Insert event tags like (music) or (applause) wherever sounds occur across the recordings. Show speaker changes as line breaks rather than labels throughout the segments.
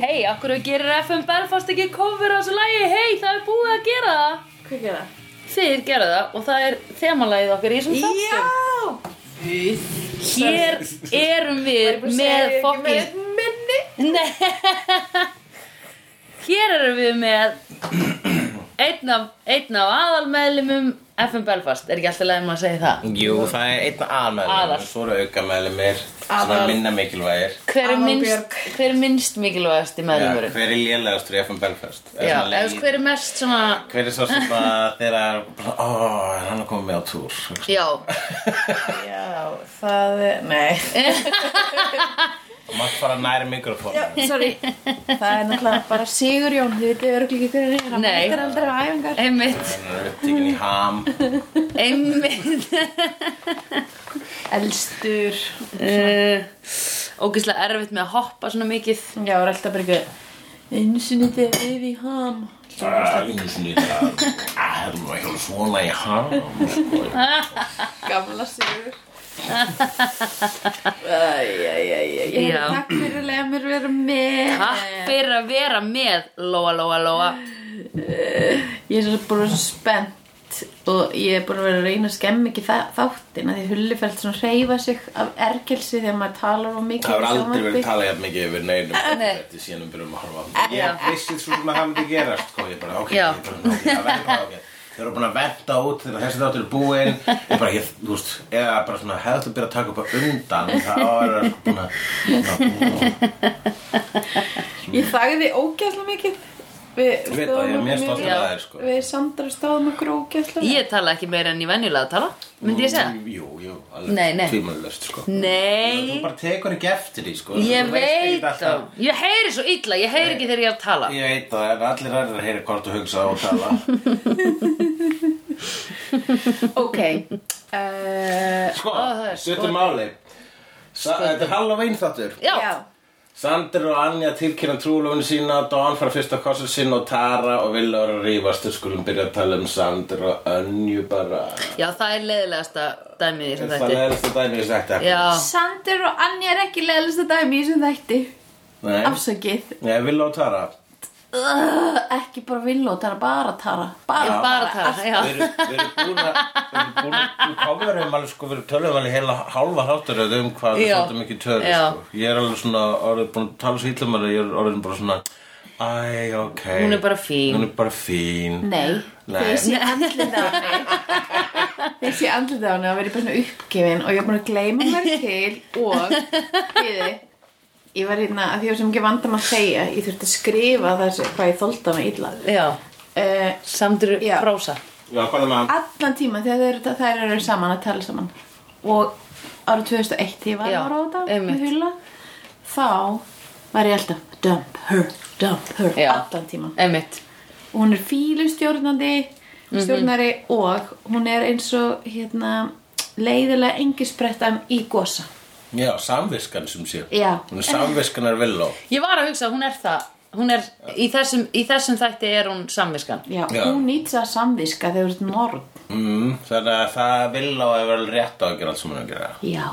Hei, okkur gerir FM Belfast ekki cover á þessu lagi Hei, það er búið að gera það
Hvað gerir það?
Þeir gera það og það er þemalagið okkar í þessum þáttum
Já!
Hér erum við með fokkin
Minni!
Nei (laughs) Hér erum við með einn af, einn af aðalmeðlumum FM Belfast, er ekki alltaf leiðum að segja það
Jú, það er einn
Aðal.
aðmælum, svo eru aukamælumir, svona
Aðal.
minna mikilvægir.
Hver er minnst,
Aðalbjörg.
hver er minnst mikilvægast í
Já,
meðlumurinn?
hver er lélegastur í FM Belfast? Er
Já,
svona
eða þú veist,
lei-
hver er mest svona
Hver er svo sem að (laughs) þeirra, bara, ó, er hann að koma með á túr?
Já,
Já, það er... Nei.
Mátt fara nær mikrofónu.
Sorry. Það er náttúrulega bara Sigurjón, þið vitið örgulega ekki hver hann er. Hann
Nei.
mætir aldrei á æfingar.
einmitt,
Hann er upptíkin í ham.
(laughs) einmitt
Elstur.
uh, Ógislega erfitt með að hoppa svona mikið
Já, er alltaf bara eitthvað. Einu sinni þegar við í ham.
Það er svona í það. Það er nú ekki svona í ham.
(laughs)
Gamla Sigur. Æjæjæjæjæ.
Já.
Takk fyrir að lega mér vera með.
Takk fyrir að vera með Lóa, Lóa, Lóa
Ég er svo bara svo spennt og ég er bara að vera að reyna að skemmi ekki þa- þáttinn að því hullifeldt svona reyfa sig af ergelsi þegar maður talar of mikið
Það hefur
í
aldrei
sjónvarpi.
verið talað jafn mikið yfir neinum
Nei.
Þetta síðan við byrjum að horfa á það Ég vissi svo sem að hafa þetta gerast sko. Ég bara, ok,
Já.
ég bara, ok, það verður bara, ok Þau eru búin að venda út þegar þessi þáttur er búinn Ég bara, ég, þú veist, eða bara svona hefðu byrjað að taka upp á undan Það var sko búin að ná,
Ég þagði ógæsla mikið Við
Ég um veit það, ég er mjög stoltur
Já.
af þær sko
Við Sandra stóðum okkur ógæsla
Ég tala ekki meira en ég venjulega tala Myndi ég segja?
Jú, jú,
Nei,
alveg
nei.
tvímælust sko Þú
Nei
bara tekur ekki eftir því sko
Ég
Þú veist ekkert
veit
alltaf-
það Ég heyri svo illa, ég heyri ekki þegar ég er að tala
Ég veit það, en allir aðrir heyri hvort þú hugsa og tala
(laughs)
(laughs) Ok uh,
Sko,
Ó, það er
stuttum máli Sa- Þetta er Halloween þáttur
Já,
Sander og Anja tilkynna trúlofinu sína Don fara fyrst á kossur sína og Tara og Villa voru að rífast Við skulum byrja að tala um Sander og Önju bara
já það er leiðilegasta dæmið í þessum
Það
þætti
leðast að dæmi þess eftir
Já,
Sandur og Anja er ekki leðalista dæmi í þessum þætti
Nei,
Afsakið
Nei Villa og Tara
uh, Ekki bara villó, það er bara Tara Bara,
Já.
bara það, já
Við erum við erum búin að Við erum búin að Við komurum alveg sko Við erum tölum alveg heila hálfa þáttur eða um hvað við
Já.
þáttum ekki töður
Já.
sko. Ég er alveg svona orðið búin að tala svo illa um hana Ég er orðin bara svona Æ, ok
Hún er bara fín.
Hún er bara fín
Nei,
Nei.
þegar ég sé andlitið á henni Þegar ég sé andlitið á henni að vera bara svona uppgefin og ég er búin að gleyma mér (laughs) til og bíði, ég var hérna að því ég var sem ekki vandam að segja ég þurfti að skrifa þessu hvað ég þólda mig illa
Já,
uh,
samdur
Já.
frósa
Já, hvað er maður?
Allan tíma þegar þær, þær eru saman að tala saman og ára 2001 þegar ég var
Já,
að ára á þetta
einmitt.
með hula þá var ég alltaf dump her, dump her
Já.
allan tíma
Einmitt
og hún er fílustjórnandi stjórnari og hún er eins og hérna leiðilega engisbrettan í gosa
Já, samviskan sem sé
Já.
Hún er samviskanar villó
Ég var að hugsa, hún er það Hún er, í þessum, í þessum þætti er hún samviskan
já,
Já.
hún nýtsa að samviska þegar þú ert morð
mm, Þannig að það villó er vel rétt á að gera allt sem hún er að gera
já,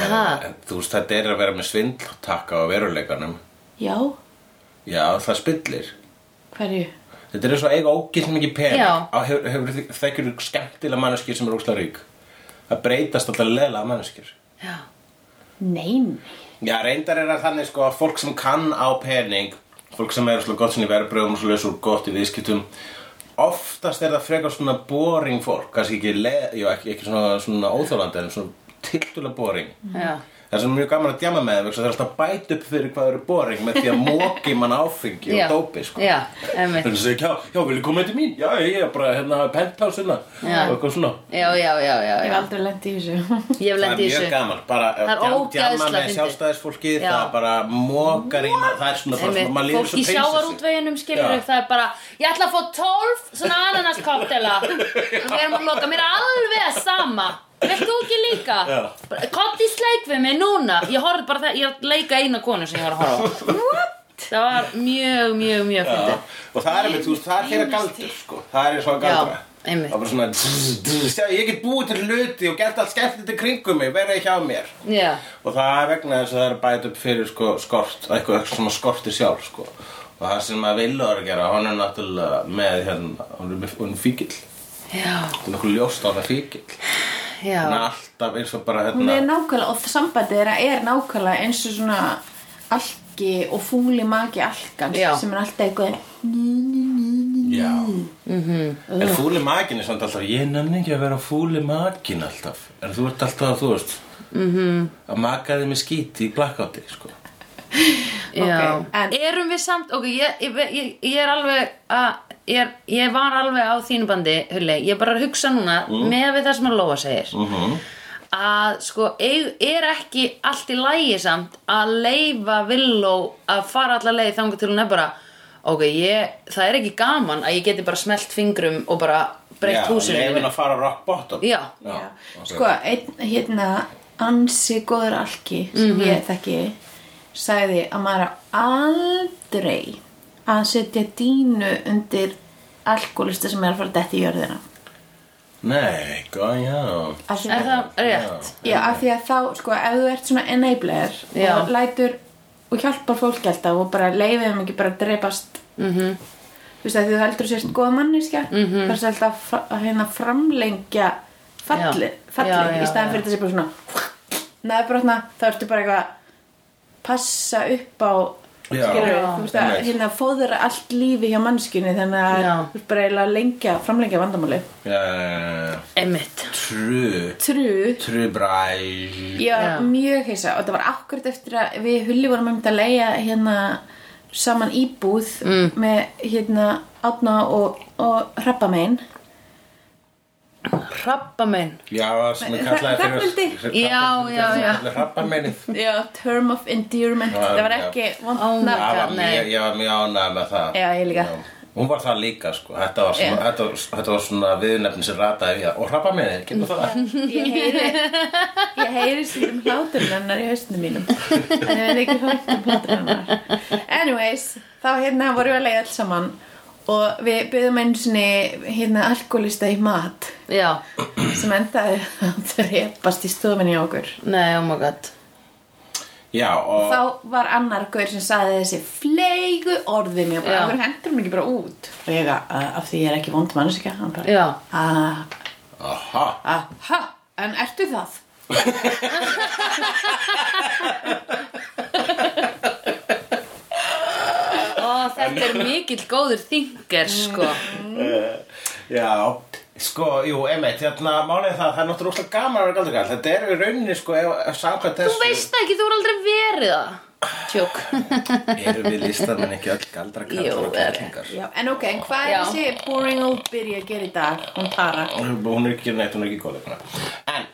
Aha,
en, Þú veist, þetta er að vera með svindltakka á veruleikanum
já,
Já, það spillir
hverju
Þetta er eins og að eiga ógilt mikið pening
Já.
Á- hefur- hefur þi- Þekkjur þú skemmtilega manneskir sem er óslega rík Það breytast alltaf leila manneskir
já
nein,
Já, reyndar er að þannig sko að fólk sem kann á pening Fólk sem er svona gott sinni í verbröðum og svo lesur gott í viðskiptum Oftast er það frekar svona boring fólk Kannski ekki, le- jú, ekki, ekki svona, svona óþjólandi en svona tildulega boring
Já,
Það er sem er mjög gaman að djama með þeim vegna þess að Það er alltaf að bæta upp fyrir hvað þau eru boring Með því að móki mann áfengi
já,
og dópi sko.
já, einmitt
Þannig að segja, já, já, viljið koma til mín? Já, ég er bara hérna penthouse hérna
Já.
og eitthvað svona
Já, já, já, já,
ég hef
já.
aldrei lent í þessu
Ég hef
Það er
lendið í
mjög
þessu
gaman, bara
Það er
djam-
ógeðslega
djamma með
fyndið.
sjálfstæðisfólki,
Já.
það bara mókar í maður, það er svona bara svona,
Einmitt,
maður líður
Fólk
svo
í sjávarútveginum skilur
Já.
upp það er bara Ég ætla að fá 12 svona ananas koktela Við erum að loka mér er alveg að sama Vilt þú ekki líka?
Já.
Kott í sleik við mig núna Ég horfði bara það, ég er að leika eina konu sem ég var að
(laughs)
horfa á Það var mjög, mjög, mjög
Já,
fyndið
og það er einmitt, þú veist, það er þeirra galdur, sko, það er eins og að galdra.
Já.
Það
einmitt
var svona dzz, dzz, sjá, Ég get búið til hluti og gert allt skemmt þetta kringum mig Verið hjá mér
Já,
Og það er vegna þess að það er að bæta upp fyrir sko, skort Eitthvað eitthvað sem að skorti sjálf sko. Og það sem að vilja að gera Hún er náttúrulega með hérna Hún er, með, hún er fíkil
já,
Hún er okkur ljóst á það fíkil
já
Hún er alltaf eins og bara
Hún
hérna
er nákvæmlega, og sambandi þeirra er nákvæmlega eins og svona alki og fúli maki alkans
Já.
sem er alltaf eitthvað
Já
Mm-hmm.
En fúli makin er samt alltaf Ég nenni ekki að vera fúli makin alltaf En þú ert alltaf að þú veist
Mm-hmm.
Að maka þig með skíti í blakkátti sko.
Já,
Ok, en-
erum við samt ok, ég, ég, ég, ég er alveg að ég, er- ég var alveg á þínu bandi Hulli, ég er bara að hugsa núna með við það sem að Lóa segir
Mhm.
að sko, eig- er ekki allt í lægi samt að leifa villó að fara allar leið þangar til hún er bara ok, ég, það er ekki gaman að ég geti bara smelt fingrum og bara breytt húsinu
Leifin
mínu.
að fara rock bottom
Já.
Já, ok.
Sko, einn, hérna ansi góður alki sem
Mhm.
ég þekki sagði að maður á aldrei að setja dínu undir alkoholista sem er að fara dætt í jörðina
Nei, góð, já
Af því
er
að-
það rétt?
Já, af því að þá, sko, ef þú ert svona enabler
Já.
og lætur og hjálpar fólk alltaf og bara leifir þeim ekki bara að dreipast
Mhm.
-hmm. þú veist að því þú heldur þú sérst góða manneskja mm -hmm. þar sem alltaf fra- að hérna framlengja falli,
Já.
falli
Já, já,
í staðan
já.
fyrir þessi bara svona neðbrotna, þá ertu bara eitthvað að passa upp á
Já.
skilur,
Já.
þú veist að
Einmitt.
hérna fóðra allt lífi hjá mannskjunni þannig að
Já.
þú veist bara eiginlega að lengja, framlengja vandamáli
Já, já, já, já.
Einmitt
True
trú
True bræl
Ég
Já.
var mjög heisa og það var akkurat eftir að við Hulli vorum um að leia hérna saman íbúð
Mm.
með hérna Átna og, og Hrappamein
Hrabba minn
Já, sem við kallaði
Hra-
fyrir
Já, já, já.
Rappamennið
Já, Term of Endearment
Já,
það var
já.
ekki
Oh my
vondna
God.
Það var
Nei.
mjög, ég var mjög ánægð með það
Já, ég líka.
Hún var það líka, sko Þetta var svona,
Já.
þetta, var- þetta var svona viðnefni sem rataði í það Og rappamennið, getur það
(laughs) Ég heyri ég heyri síðan hlátur hennar í haustunum mínum en ég veit ekki hlátur um hlátur hennar Anyways, þá hérna vorum við að leia alls saman og við byggðum einu sinni hérna alkoholista í mat
Já,
sem endaði að drepast í stofinni á okkur
nei, oh my god
Já, og
þá var annar gaur sem saði þessi fleigu orði mér bara,
Já.
okkur hendur hún ekki bara út og ég að, af því ég er ekki vond mannskja hann bara,
Já,
"Ah,
Aha
ah, ha, en ertu það?
Ó, þetta er mikill góður þingar sko
Já, sko, jú, emitt, hérna, málið er það, það er náttúrulega úrslega gaman að vera galdur gald. Þetta er í rauninni, sko, ef, ef samkvæmt þessu...
Þú veist það ekki, þú er aldrei verið það Tjók
(laughs) Erum við listamenn ekki öll galdra
Jú,
kallar og
er-
kallingar?
Já, en ok, en hvað
Já.
er þessi boring old byrja að gera í dag? Hún Tara,
Hún er ekki neitt, hún er ekki góð leikuna. En,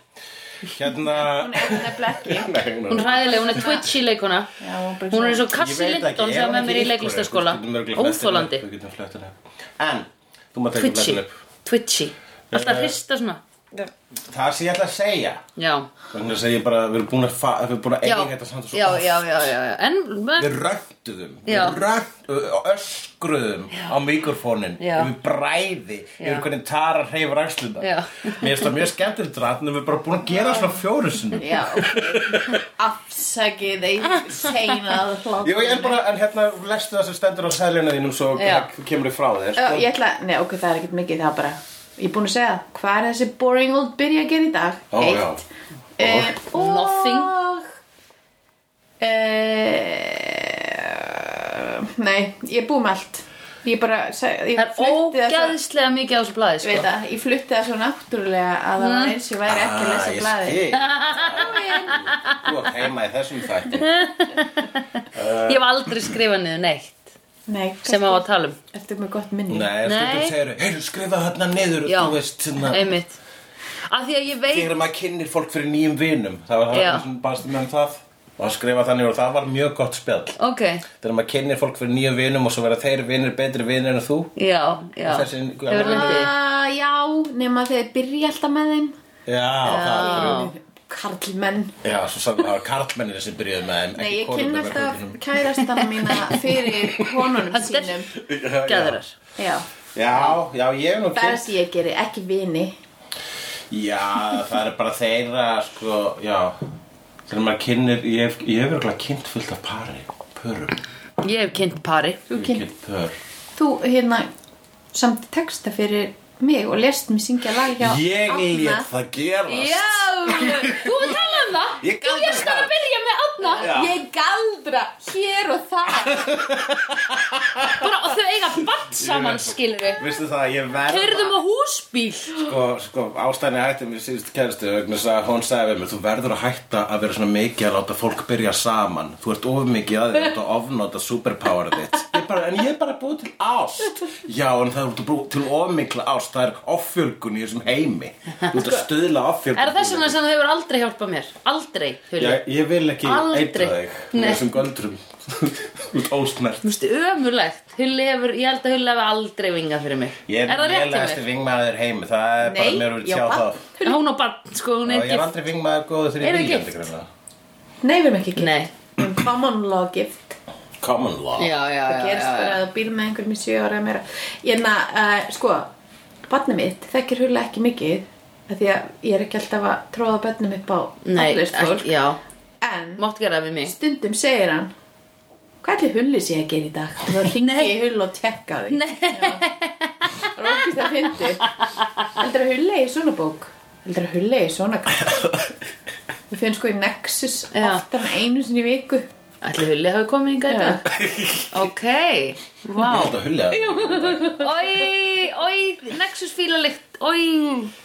hérna...
hún er nefnilega ekki
(laughs) Nei, hún
Hún er hræðileg, hún er twitchy leikuna
Já, hún bara
Hún er eins og
Ég
Kassi
veit ekki,
Lindon
ef
sem var
hann
með mér í
ekki ykkur er,
leiklistaskóla
Við getum örugglega flett henni
Óþólandi,
upp, Við getum flett henni upp. En, þú maður ekki
twitchy
flettin upp. Eh,
Twitchy, alltaf hrista svona
Það sem ég ætla að segja,
Já,
þannig að segja bara, við erum búin að, fa- við erum búin að
já,
eiga þetta hérna samt og svo
já, já, já, já, já. En,
Við röntuðum,
Já.
við röntuðum og öskruðum á mikrofónin
Já.
yfir bræði, yfir hvernig Tara reyfur axlina
Já.
Mér finnst það mjög skemmtilegt rætt en við erum bara búin að gera svona fjóru sinni
Já, ok, (laughs) afsakið þeir seinað hlátur
Jú, ég er bara, en hérna lestu það sem stendur á seljunni þínum svo
Já.
kemur þið frá þér sko.
Já, ég ætla, nei ok, það er ekkert mikið, það er bara Ég er búin að segja, það. hvað er þessi boring old byrja að gera í dag?
Ó, já.
Eh, og
Nothing.
Eh, Nei, ég er búin með allt Ég bara seg- ég
það er
flutti það svo-
ógæðslega mikið á þessu blaði,
Ég veit
sko
það, ég flutti það svo náttúrulega að það
Mm.
var eins og ég væri ekki að
Ah,
lesa blaði
Þú er heima í þessum
(laughs)
þætti Eh.
Ég hef aldrei skrifað niður neitt
Nei,
(laughs) sem á að
kannski
tala um
Ertu með gott minni
Nei, stundum
Nei.
segir þau, skrifa þarna niður
Já,
Þú veist, hérna- svona
einmitt Af því að ég veit
þegar maður kynir fólk fyrir nýjum vinum það var
Já.
það sem baðstu mér um það og skrifa þannig og það var mjög gott spjall
Ok,
þegar maður kynir fólk fyrir nýjum vinum og svo vera þeir vinir betri vinir en þú
já, já
Þessi-
Hefur lendið í?
Ah, Já, nema þeir byrja alltaf með þeim
já, það er
Já.
Karlmenn
já, svo sagði það var karlmennir sem byrjuðu með þeim
Nei,
ekki
ég kynna
konurnar með
alltaf
konunum.
(laughs)
kærastana mína fyrir konunum
Þetta er-
sínum
Já, já.
Gæðurar
Já,
Já, já, ég er nú
Bara sem ég geri, ekki vini
Já, það er bara þeirra, sko, já Þegar maður kynir, ég hef, ég hef verið kynnt fullt af pari, pörum
Ég hef kynnt pari
Þú,
Ég hef
kyn,
kynnt pör
þú hérna samt texta fyrir mig og lest mér syngja lag hjá
Ég
Árna.
lét það gerast
Já, þú var að tala um það Þú
Ég galdra
varst bara að byrja með Adna
Já.
Ég galdra hér og þar
bara, og þau eiga batt saman skilur við
Vistu það, ég verð
Hörðum á húsbíl
Sko, sko, ástæðan ég hætti mér síðust kæristu vegna þess að hún sagði við mér Þú verður að hætta að vera svona mikið að láta fólk byrja saman Þú ert of mikið að þér út að ofnota superpower þitt ég bara, En ég er bara búið til ást Já, en það er út að búið til of mikla ást Það er offjölgun í þessum heimi Þú ert að stuðla offjölgun
Er það þess vegna sem þú hefur aldrei hjálpað mér? Aldrei,
Já,
Hulja
ég vil ekki
Aldrei.
eitra þig
Nei.
með þessum göldrum (laughs) út ósnert
Þú veist, ömurlegt Hulja hefur, ég held að Hulja hefur aldrei vingað fyrir mig
Ég
Er
er
það rétt
lélegasti
hjá mér?
vingmaður heimi Það er bara
Nei,
mér verið
já,
tjá
barn.
það
Hún á bann, sko, hún er
Og ég er
gift
aldrei vingmaður góður þegar
Eru
ég
gift?
nýjandi greina
Nei, við erum ekki gift
Nei,
Við erum Common law gift
Common law
já, já,
Það
já,
gerist
já,
bara
já.
að þú býr með einhverjum í sjö ára eða meira Ég na, uh, sko, barnið mitt þekkir hula ekki mikið af Því að ég er ekki alltaf að tróða börnum upp á
Nei,
allist fólk
ekki, já
En
Mátt gera það við mig
stundum segir hann Hvað ætli hulli sé að gera í dag? Þú var hringi í hull og tekka þig Nei Rókist að fyndi Heldur að hulla í svona bók? Heldur að hulla í svona bók? Við finnum sko í Nexus
Já.
oftar en einu sinni í viku
Ætli Hulja hafi komið hingað í
Já.
dag Ok, vá
Ég held að hulja
Oi, oi, Nexus fíla lykt Oi,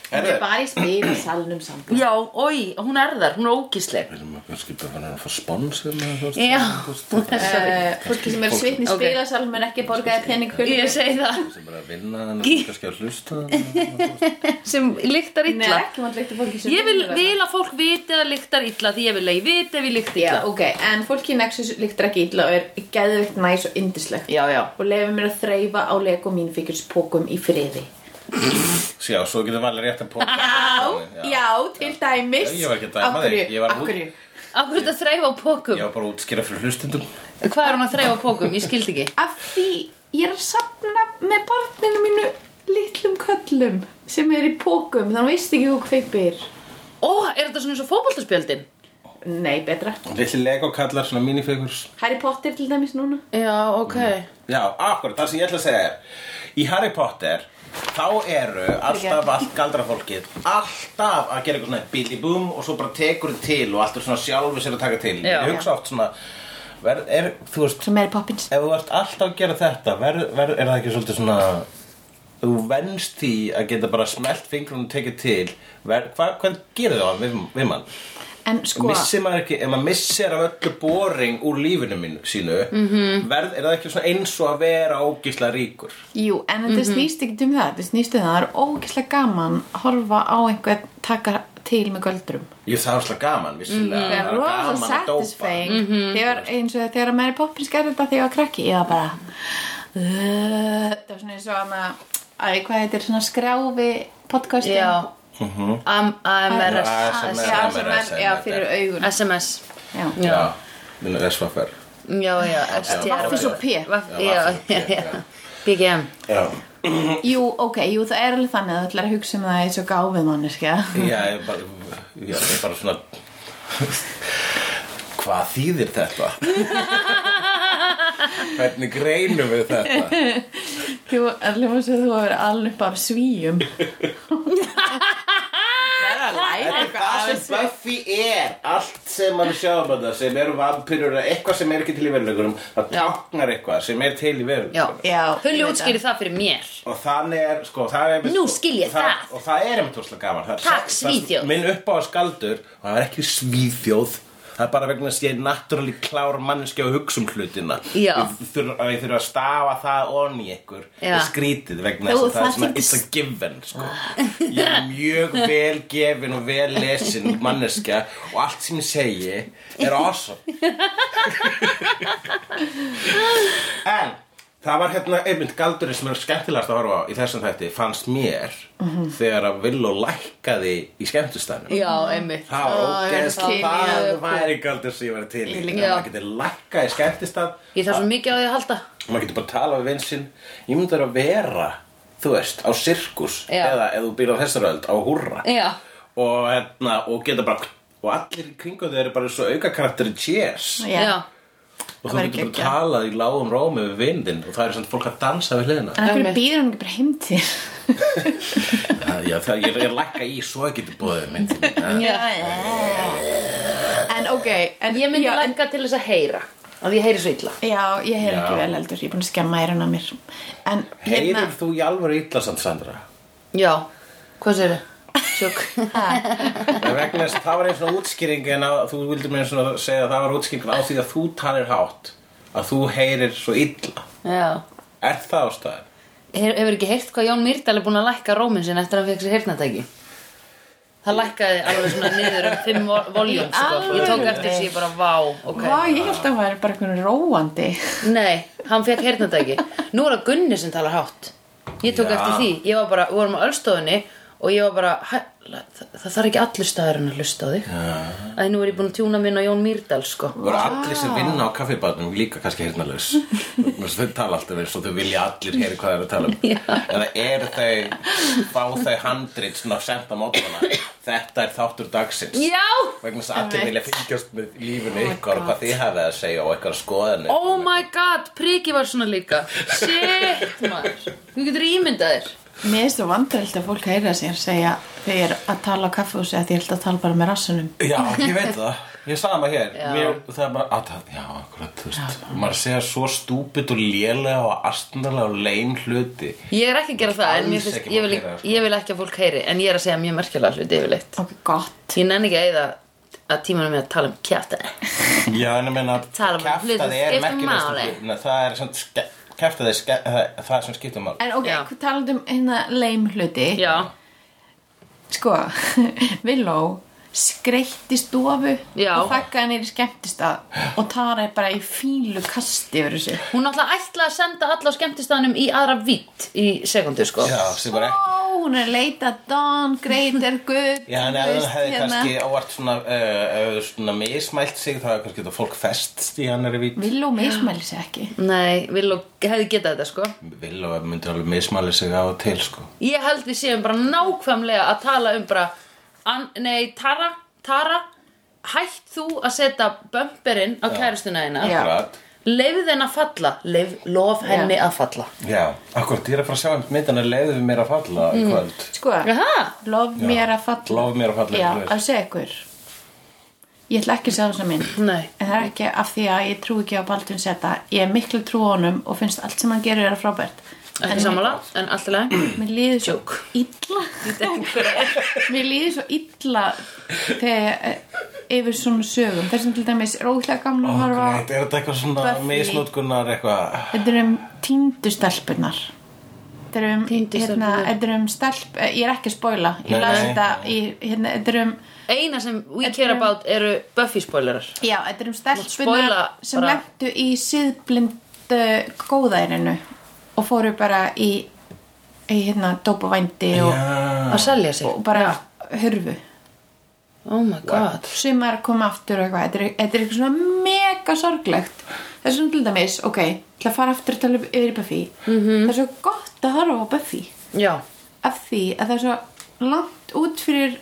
Þetta
Herðu,
er bara í spil í salnum
(clears throat)
samt
já, oi Hún er þar, hún er ógísleg
erum við kannski bara að fá spons hérna, þú veist,
Já.
þú veist,
Uh, fólki sem er svitni í
Ok.
spilasalum er ekki borgaði pening hulli
Ég segi það,
sem bara að vinna þannig kannski að hlusta þannig
sem lyktar
Nei,
illa
ekki mann leikta fólki sem
Ég vil,
vinnur
vil að fólk viti að það lyktar illa Því ég vil að ég viti að við lykt
Já,
illa
ok, en fólki í Nexus líktar ekki illa og er geðveikt næs og indislegt
Já, já
og leiði mér að þreyfa á Lego mín fíkjurspókum í friði.
Já, svo getur valið rétt að póka
Já, já, til dæmis.
Ég var ekki að dæma
Af hverju?
þig, ég var
Af
út-
hverju?
Af hverju þetta þreifa á pókum?
Ég var bara að útskýra fyrir hlustendum
Hvað er hún að þreifa á pókum? Ég skildi ekki
Af því ég er að sapna með barninu mínu litlum köllum sem er í pókum, þannig að veist ekki hvað kveipir.
Ó, er þetta svona eins og fótboltaspjöldin?
Nei, betra.
Lilli Lego kallar svona minifigures
Harry Potter til dæmis núna.
Já, ok
Já, akkurat, það sem ég ætla að segja er Í Harry Potter Þá eru alltaf allt galdrafólkið Alltaf að gera eitthvað svona Billy boom og svo bara tekur þið til Og allt er svona sjálfu sér að taka til
Já.
Ég hugsa oft svona ver, er, Þú veist,
Svo Mary Poppins.
ef þú ert alltaf að gera þetta ver, ver, Er það ekki svolítið svona Þú venst því að geta bara smelt fingrunum og tekið til ver, hva, Hvað gerir það við, við mann?
En sko,
Missir maður ekki, ef maður missir af öllu boring úr lífinu mínu sínu
Mhm.
-hmm. verð, Er það ekki svona eins og að vera ógislega ríkur?
jú, en þetta snýst ekki um það. Þetta snýst um það. Það er ógeðslega gaman að horfa á einhvern taka til með göldrum.
Jú, það er svolítið gaman, vissulega
Það er Mhm. rosa
gaman að dópa
satisfying
Mhm.
þegar eins og þegar Mary Poppins gerði þetta þegar ég var krakki ég var bara uh, það var svona eins og hana að hvað heitir svona skrjáfi podcastin
Já Am- AMRS
ASMR.
já, sem er, já fyrir augun
SMS
já.
Já, minna SFR
Já, já, STR
Vaffis og P
Vaff,
Já,
já,
vaffis og
já,
P,
já. BGM
Já,
jú, ok, jú, það er alveg þannig að þú ætlar að hugsa um það eins og gáfið manneskja
já, ég bara, já, ég bara svona Hvað þýðir þetta?
(laughs)
Hvernig greinum við þetta?
þú er hljóma sem þú hefur alveg upp af svíum það er að læra
Þetta er það sem Buffy er Allt sem mann sjáum að það sem eru vampirur eða eitthvað sem er ekki til í veruleikunum það táknar eitthvað sem er til í
Já,
veruleikunum
Já, ég
Hulli
veit
útskýri það fyrir mér
Og þannig er, sko, það er einmitt-
Nú skil ég
og það,
það.
Og það er einmitt úrslega gaman það, er-
Takk,
það-
Svíþjóð.
Minn upp á skaldur Og það er ekki svíþjóð Það er bara vegna þess að ég er naturally klár manneskja og hugsa um hlutina
Já.
Ég þurf, að ég þurf að stafa það onni í ykkur
Já.
og skrítið vegna
Þú,
þess að það
það
er svona
þykist-
it's a given sko.
Ah.
Ég
(laughs)
er mjög vel gefin og vel lesin manneskja og allt sem ég segi er awesome En það var hérna einmitt galdurinn sem er skemmtilegast að horfa á í þessum þætti fannst mér
Mhm.
þegar að Villó lækkaði í skemmtustæðinu
Já, einmitt
Það var
Ó, ég
ógeðst,
skil,
það
já.
væri galdur sem ég var til í
Ég
Þegar
líka.
maður getur lækkað í skemmtistað
Ég þarf svo mikið á því að halda
maður getur bara að tala við vinsinn ég myndi vera að vera þú veist, á sirkus
Já.
eða ef þú býr á þessar öld, á húrra
Já.
og, hérna, og geta bara og allir í kringu þau eru bara svo aukakarakter í Cheers
Já.
Já.
og
Það
þú
væri
getur bara
geggjað.
talað í lágum rómi við vindin og það er samt fólk að dansa við hliðina
En af hverju
Einmitt.
býður hún ekki bara heim til?
Já, já, það, ég, ég lækka í svo ég geti bóðið mynd
Já.
En ok, en
Ég myndi
já, en-
lækka til þess að heyra Af því ég heyri svo illa
Já, ég heyr ekki
Já.
vel heldur, ég er búin að skemma eyrun að mér En hérna,
Heyrir þú í alvöru illa samt Sandra?
Já, hvað segir þið? (laughs) Sjók
En vegna þess það var einn svona útskýring en að, þú vildir mér svona segja að það var útskýring á því að þú talir hátt að þú heyrir svo illa
Já
Er það ástæðan?
Hef- Hefur ekki heyrt hvað Jón Myrdal er búin að lækka róminn sinn eftir að hann fekk sér heyrnatæki? Það lækkaði alveg svona niður um fimm vol- voljum sko. Ég tók
alvöru?
eftir því ég bara vá, ok
Vá, ég held að hún væri bara einhvern róandi
Nei, hann fekk heyrnatæki Nú er það Gunni sem talar hátt Ég tók
Já.
eftir því, ég var bara, við vorum á ölstofunni og ég var bara, hæ, það, það þarf ekki allur staðurinn að hlusta á þig Æ, nú er ég búin að tjúna minn á Jón Mýrdal, sko
Voru allir sem vinna á kaffibarnum líka kannski heyrnalaus Vegna þess að Þau tala alltaf eins og þau vilja allir heyri hvað þau eru að tala um Eða er þau, fá þau handrit svona sent á mótana Þetta er þáttur dagsins
Já,
Vegna þess að allir vilja fylgjast með lífinu ykkur og hvað þið hafið að segja og eitthvað skoðanir
Oh my god, priki var svona líka Shit maður Þú getur ímyndað þér
Mér finnst þú vandrælt að fólk heyra sér segja Þau eru að tala á kaffehúsi að því ég held að tala bara með rassunum
Já, ég veit það, ég sagði maður
Já.
hér Mér, Það er bara, að, það- já, akkurat, þú veist Maður segja svo stúpid og lélega og astnalega og lein hluti
Ég er ekki að gera það en mér
Alls
finnst,
ekki
ég, vil,
fólk heyra það, sko.
ég vil ekki að fólk heyri En ég er að segja mjög merkjulega hluti yfirleitt
Ok, gott
Ég nenni ekki að eða að tímanum ég að tala um kjæfta
Já, en ég meina
Tala um hluti
kjaftaði
sem
er
skipta
merkilegasta
máli.
hluti. Nei, Það er svona ske- kjaftaði ske- það það er sem skiptum máli
En ok,
Já.
hvað talaðu um hérna leim hluti
Já,
Sko, (laughs) Villó skreitt í stofu
Já.
og þakkaði henni í skemmtistað og Tara er bara í fílu kasti yfir þessu
hún náttúrulega ætlaði að senda alla á skemmtistaðnum í aðra vitt í sekundu sko
Já, sem var ekki
Ó, hún er að leita að Don, Greater, Good
Já, en
þú
ef hann
veist, hérna.
hefði
hérna.
kannski óvart svona, uh, uh, svona mismælt sig þá hefði kannski þetta fólk fest í hann er í vít
Villó mismæli sig ekki
Nei, vil og hefði getað þetta sko
Vil og myndi alveg mismæli sig á og til sko
Ég held við séum bara nákvæmlega að tala um bara an, Nei, Tara, Tara Hætt þú að setja bömperinn á kærustuna þína
Já.
Akkurat
Leifðu henn að falla Leif, Lof henni að falla
Já, akkurat, ég er að fara að sjá um myndina leiðu við mér að falla í kvöld
Sko,
Jaha
lof mér að falla
Lof mér að falla,
Já,
þú veist.
að segja ykkur Ég ætla ekki að segja þess að minn
Nei
En það er ekki af því að ég trúi ekki á Baldvin Seta Ég er miklu trú á honum og finnst allt sem hann gerir er að frábært
Ekki sammála, en allt í lagi
Mér líður svo
Joke.
illa (laughs) Mér líður svo illa þegar eh, yfir svona sögum Þessum til dæmis er ógæðlega gamla að horfa á-
Greit, er þetta eitthvað svona
Buffy.
misnótkunar eitthvað
Þetta er um týndu stelpunar Þetta er um,
Týndu
hérna,
stelpurnar.
þetta er um stelp eh, Ég er ekki að spoila
Nei,
Ég las
nei.
þetta í, hérna, Þetta er um,
Eina sem we
Þetta
care
er-
about eru Buffy spoilerar
já, þetta er um
spoila
stelpunar sem
bara-
lentu í síðblindu góðærinu og fóru bara í, í hérna, dópavændi og,
Já,
Að selja sig
og bara hurfu
Oh my god
sumar koma aftur og eitthvað þetta er, þetta er eitthvað svona mega sorglegt það er svona til dæmis, ok til að fara aftur að tala yfir í Buffy
Mhm.
-hmm. það er svo gott að horfa á Buffy
Já,
af því að það er svo langt út fyrir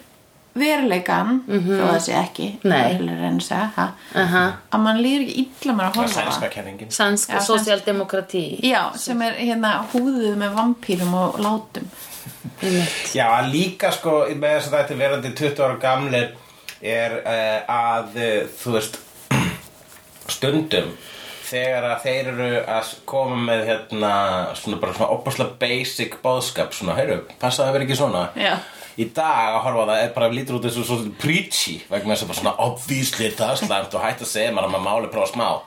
veruleikan þó að það sé ekki
Mhm. Nei.
verulegur en að segja ha,
Aha.
að mann líður ekki illa með að
það er
horfa á
sænska
það
kenningin
sænsk
Já,
og
sænsk.
sósíaldemokratí
Já, sem er hérna húðuð með vampýrum og látum
Já, að líka sko með þess að þetta er verandi 20 ára gamlir er uh, að uh, þú veist (clears throat) stundum þegar að þeir eru að koma með hérna svona bara svona opaslega basic bóðskap svona, heyrðu, passa það að vera ekki svona
Já.
Í dag að horfa á það er bara lítur út þessu svona preachy vegna þess að bara svona obvísli það er slæmt og hætt að segja maður að maður máli prófa smá og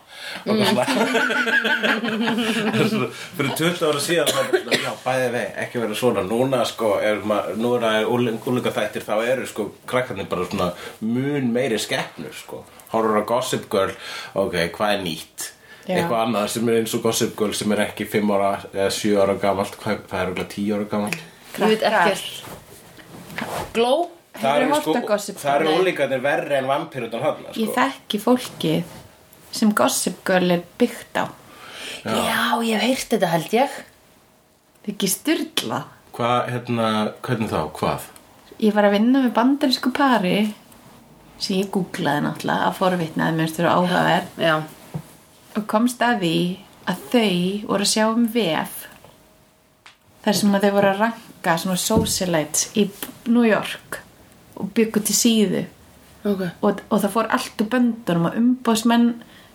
mm. (laughs) svona fyrir 20 ára síðan þá bara svona, já, bæði vei, ekki vera svona núna sko, er maður, núna er úlinga þættir þá eru sko krakkarnir bara svona mun meiri skeppnur sko horfur á Gossip Girl, ok, hvað er nýtt
Já.
eitthvað annað sem er eins og Gossip Girl sem er ekki 5 ára eða 7 ára gamalt hvað, það er okkur 10 ára gamalt
Ég veit
Krakkar.
ekkert Glow
Það
Hefurðu
eru
hort
sko,
á Gossip Girl?
það eru
Nei.
úlingarnir verri en vampirutnar hann sko.
ég þekki fólkið sem Gossip Girl er byggt á
Já, ég hef heyrt þetta held ég
ekki styrla
Hvað, hérna, hvernig þá, hvað?
Ég var að vinna með bandarísku pari sem ég googlaði náttúrulega að forvitnaði mér styrir áhugaverð
já,
og komst að því að þau voru að sjá um VF þar sem að þau voru að ranka svona socialites í New York og byggu til síðu
ok
og, og það fór allt úr böndunum að umbóðsmenn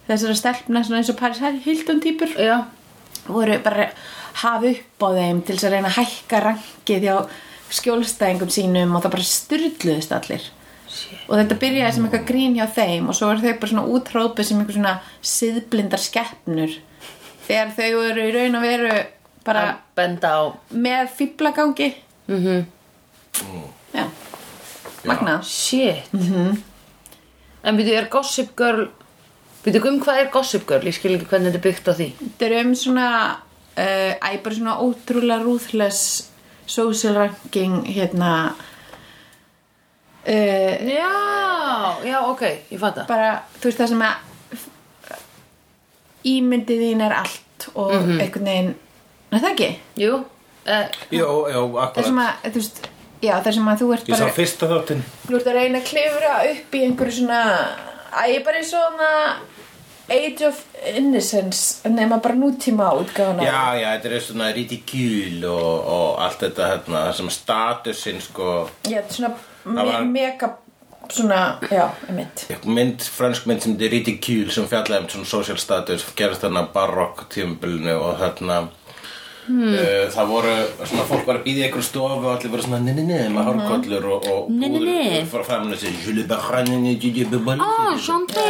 þessara stelpna svona eins og Paris Hilton týpur
já,
voru bara að hafa upp á þeim til þess að reyna að hækka rankið hjá skjólstæðingum sínum og það bara styrluðist allir og þetta byrjaði sem eitthvað grín hjá þeim og svo eru þau bara svona útrópið sem eitthvað svona siðblindar skeppnur þegar þau eru í raun og veru bara
að benda á
með fýblagangi
mhm
já, magnað
Shit En byrju, er Gossip Girl Byrju, um hvað er Gossip Girl? Ég skil ekki hvernig þetta er byggt á því
þetta eru um svona uh, æ, bara svona ótrúlega ruthless social ranking hérna uh,
Já, já, ok, ég fatt það
bara, þú veist það sem að ímyndið þín er allt og
Mhm.
einhvern veginn er það ekki?
Jú, eh,
Jó, jó,
Það sem
akkurat
að, þú veist, já, það sem að þú ert
Ég sá
bara,
fyrsta þáttinn
þú ert að reyna að klifra upp í einhverju svona, að ég bara í svona Age of Innocence, nema bara nútíma útgáfuna.
Já, já, þetta er svona ridicule og, og allt þetta hérna, það sem statusinn sko
Já, þetta er svona
Það
me
var-
mega, svona, já, einmitt.
einhver mynd, fransk mynd sem þetta er ridicule sem fjallaði um svona social status gerist þarna barokk tímabilinu og þarna hmm. það voru, svona fólk var að býða einhver stofu og allir voru svona nei, nei, nei, með hárkollur og, og
Nei, nei, nei.
frá framinu sér Júli Bahranin, Júli Bahranin
ah, Chanté,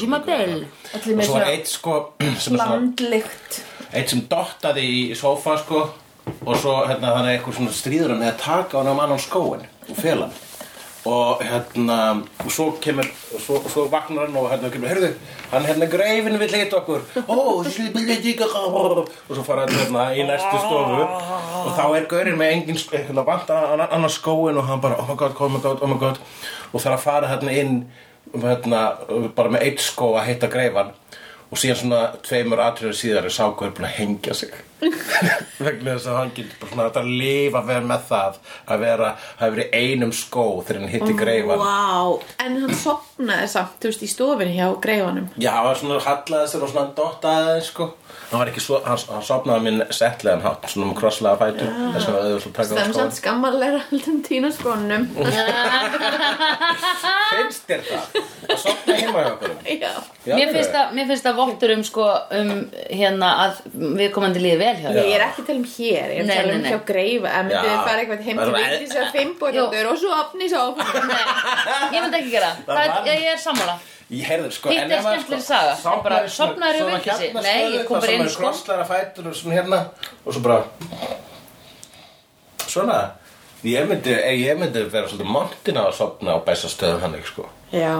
je m'appelle
Allir
og
með
svo var
svona
eitt sko (clears throat) sem er svona
landlykt.
eitt sem dottaði í sófa sko og svo hérna þannig eitthvað svona stríður hann eða taka hann á mann á skóin og fela hann og hérna og svo kemur og svo, svo vagnar hann og hérna kemur heyrðu hann hérna greifin vill hitt okkur ó, þessi vill hitt ekki og svo fara hann hérna í næstu stofu og þá er gaurinn með engin hérna vanta annar skóin og hann bara oh my god, oh my god, oh my god og þarf að fara hérna inn hérna, bara með eitt skó að hitta greifan og síðan svona tveimur atriður síðar er sákur búin að hengja sig vegna þess að hann getur bara svona hægt að lifa vel með það að vera, hafa verið í einum skó þegar hann hitti greifan
Vá, en hann sopnaði samt, þú veist, í stofinu hjá greifanum.
já, hann var svona hallaði sér og svona dottaði sko hann var ekki svo, hann, hann sopnaði minn settlegan hátt, svona um krosslega fætur þess að auðvitað að taka á
Það er
skóin
samt skammarlega haldum tína
(laughs)
skónum.
finnst þér
(laughs)
það? að sopna heima hjá okkur
Já.
Mér finnst það, mér finnst það vottur um sko um hérna að við komandi líði vel hjá þér
Ég er ekki að tala um hér, ég
Nei,
er að tala um
nei, nei.
hjá greifa að myndum
Já. e-
við fara eitthvað heim
Það
til
var-
við þess að fimmbúrjóttur og svo opni svo
(laughs) Nei, ég myndi ekki gera það,
Það
er,
var-
ég, ég er sammála
Ég heyrðu, sko,
Hitt
en
er
ef maður,
skemmtileg saga.
sofnaði
Bara
svona-
sofnaðir í
svona
vitleysi.
hérna
Nei, ég
stöðugt,
kom
þar
bara inn sko. í
sem er
skó.
krosslegra fætur og svona hérna og svo bara Svona Ég myndi, ég myndi vera svolítið montin á að sofna á bæsa stöðum hann ekki, sko
Já,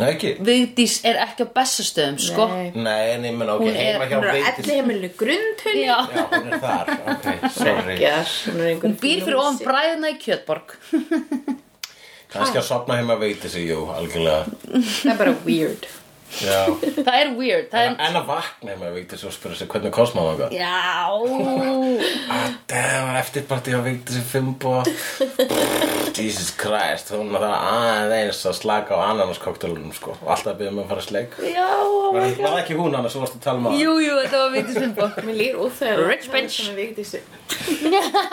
Nei, ekki?
Vigdís er ekki á bestastöðum sko
Nei.
Nei, en ég menna, ok,
Hún er-
heima hjá
hún er á
veitis
elli heimilu grundhund
Já,
Já, hún er þar, ok, sorry
Hún
hún býr fyrir ofan bræðina í Kjötborg (laughs)
Kannski að sofna heima veitis í, jú, algjörlega
Það er bara
(laughs)
weird
Já
Það er weird, það er
En að vakna heima veitis og spyrja sig hvernig kosmaði það
Já
Ah, damn, var eftirparti á Vigdísi
(laughs)
Fimbo Jesus Christ, hún var það aðeins að slaka á ananaskoktélunum sko Alltaf byrðum að fara að sleik
Já, oh
Var var það ekki hún annars, þú varst að tala um maður
Jú, jú, þetta var Vigdís Finnborg
Mér líður óþægilega
Rich bitch.
bitch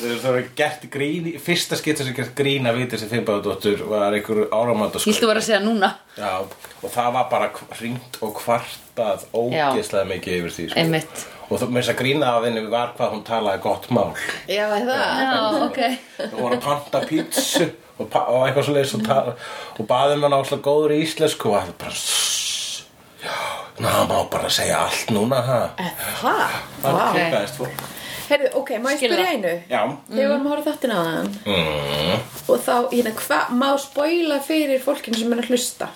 Þau það var gert grín, í- fyrsta skipta sem gert grín að Vigdísi Fimboðdóttur var einhver áramöndaskvöld
Hiltu var að segja núna
Já, og það var bara hringt og kvartað ógeðslega mikið yfir því sko.
Einmitt
Og það með þess að grína af henni var hvað hún talaði gott mál
Já, er það
Já, ok
og voru að panta pítsu og, pa og eitthvað svo leiðis og, ta- og baðum hann áslega góður í íslensku og hann bara "Sss, já, ná, má bara segja allt núna ha
Er Það? Vá.
það wow. klukkaðist fólk
Heyrðu, ok, má ég
Skil
spyrja
það.
einu?
já,
Þegar við varum að horfa þáttina á þann
Mm.
Og þá, hérna, hvað má spoila fyrir fólkinu sem er að hlusta?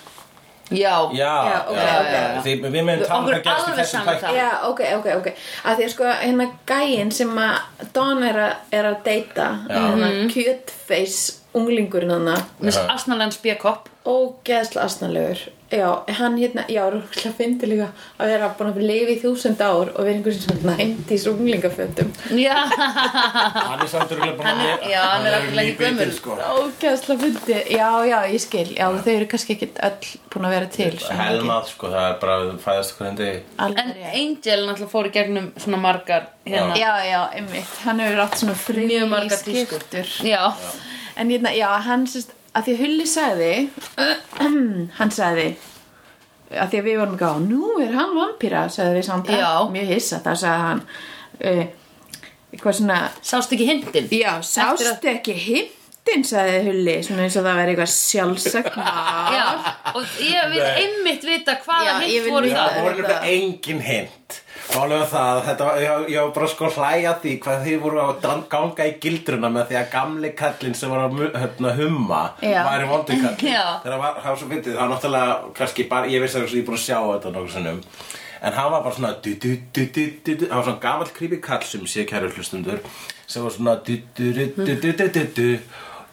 Já,
já,
Já, ok, ok,
já.
Því, við meðum tala um
Okkur
hvað gerst í
alveg
þessum
sama
tæk
það.
Já, ok, ok, ok að Því að sko, hérna gæinn sem að Don er, a, er að deyta hérna, kjötfeis unglingurinn hann
Miss Asnalands B-Cop
ógeðslega asnalegur já, hann hérna, já, rúkla fyndi líka að vera búin að lifa í þúsund ár og vera einhvers svona 90s unglingafötum
Já,
Hann er samt örugglega búinn
Hann er-
vera-
já, hann er
orðinn
örugglega ekki
nýbitinn,
gömul.
sko.
ógæðsla fyndi, já, já, ég skil já, þau eru kannski ekkit öll búin að vera til svona mikið.
Helmað, sko, það er bara að fæðast hverjum degi
en
Alveg rétt.
Angel náttúrulega fór í gegnum svona margar hérna
já, já, einmitt, hann hefur átt svona frí
Mjög margar tískur.
skiptur
Já,
En hérna, já, hann sérst, að því að Hulli sagði, (clears throat) hann sagði, að því að við vorum ekki á, nú er hann vampíra, sagði við samt
Já.
mjög hissa, þá sagði hann, uh, eitthvað svona,
sást ekki hindin
já, sástu ekki himtin, sagði Hulli, svona eins og það væri eitthvað sjálfsagt mál.
(laughs) Já, og ég vil
Nei.
einmitt vita hvaða
Já, ég
hint
vil
voru
vita
Það
það
voru nefnilega engin hint Málið var það, að þetta var, ég, ég var bara sko að hlæja að því hvað þið voru að dran- ganga í gildruna með því að gamli kallinn sem var að mu- hérna, humma
Já.
væri vondi kallinn
Já.
Þegar var, það var svo fyndið, það var náttúrulega kannski bara, ég vissi að ég er búin að sjá þetta nokkuð sinnum En hann var bara svona du, du, du, du, du, du, hann var svona gamall creepy kall sem sé kæru hlustundur sem var svona du, du, du, du, du, du, du, du.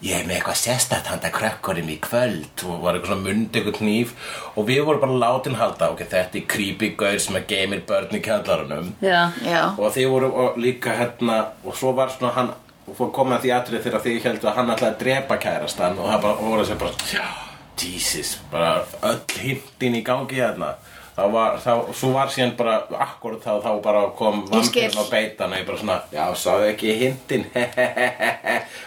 Ég er með eitthvað sérstætt handa krakkorinn í kvöld og var eitthvað svona mundi eitthvað knýf og við vorum bara látin halda ok, þetta er creepy gaur sem að geymir börn í kjallarunum
Já,
Já,
og þið voru og líka hérna og svo var svona hann og fór komið að því atrið þegar þið heldur að hann ætlaði að drepa kærastan og það bara og voru að segja bara já, Jesus, bara öll hintin í gangi hérna þá var, þá, svo var síðan bara akkurat þá, þá bara kom
Ég skil.
vampirinn og beitan og ég bara svona, já, sáðu ekki hintin (laughs)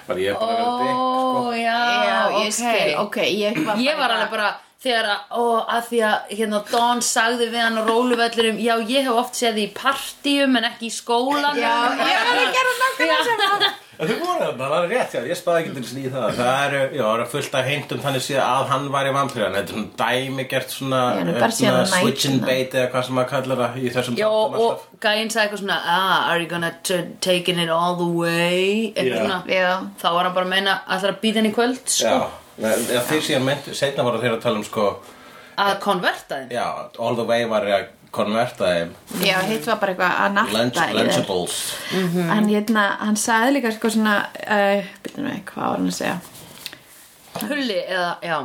bara ég er bara að vera dick
ó, já,
já, ég
ok.
skil, ok, ég var,
Ég var alveg bara þegar að, ó, að því að hérna Don sagði við hann á róluvellurum já, ég hef oft séð því í partíum en ekki í skólanum
Já, ég var að gera nákvæmlega sem hann.
En þau voru þarna, það er rétt, já, ég spáði ekki til þess í það Það eru, já, það eru fullt af heimtum þannig síðan að hann var í vampíran Þetta er svona dæmigert svona,
Já, nú bara síðan að
switch and
næturnar.
bait eða hvað sem maður kallar það í þessum
Já,
þáttum
og
alltaf.
gæinn sagði eitthvað svona ah, are you gonna t- take it all the way eitthvað
Já.
svona
Já,
þá var hann bara að meina að það er að býta henni í kvöld sko,
Já, en- en þeir síðan myndu, seinna voru þeir að tala um sko
að konverta þeim
Já, all the way var ég að konverta þeim
já, hitt var bara eitthvað að natta
lunch,
í þær.
Lunchables
Mhm.
hann, hérna, hann sagði líka sko svona uh, byrjum við, hvað var hann að segja
Hulli eða, já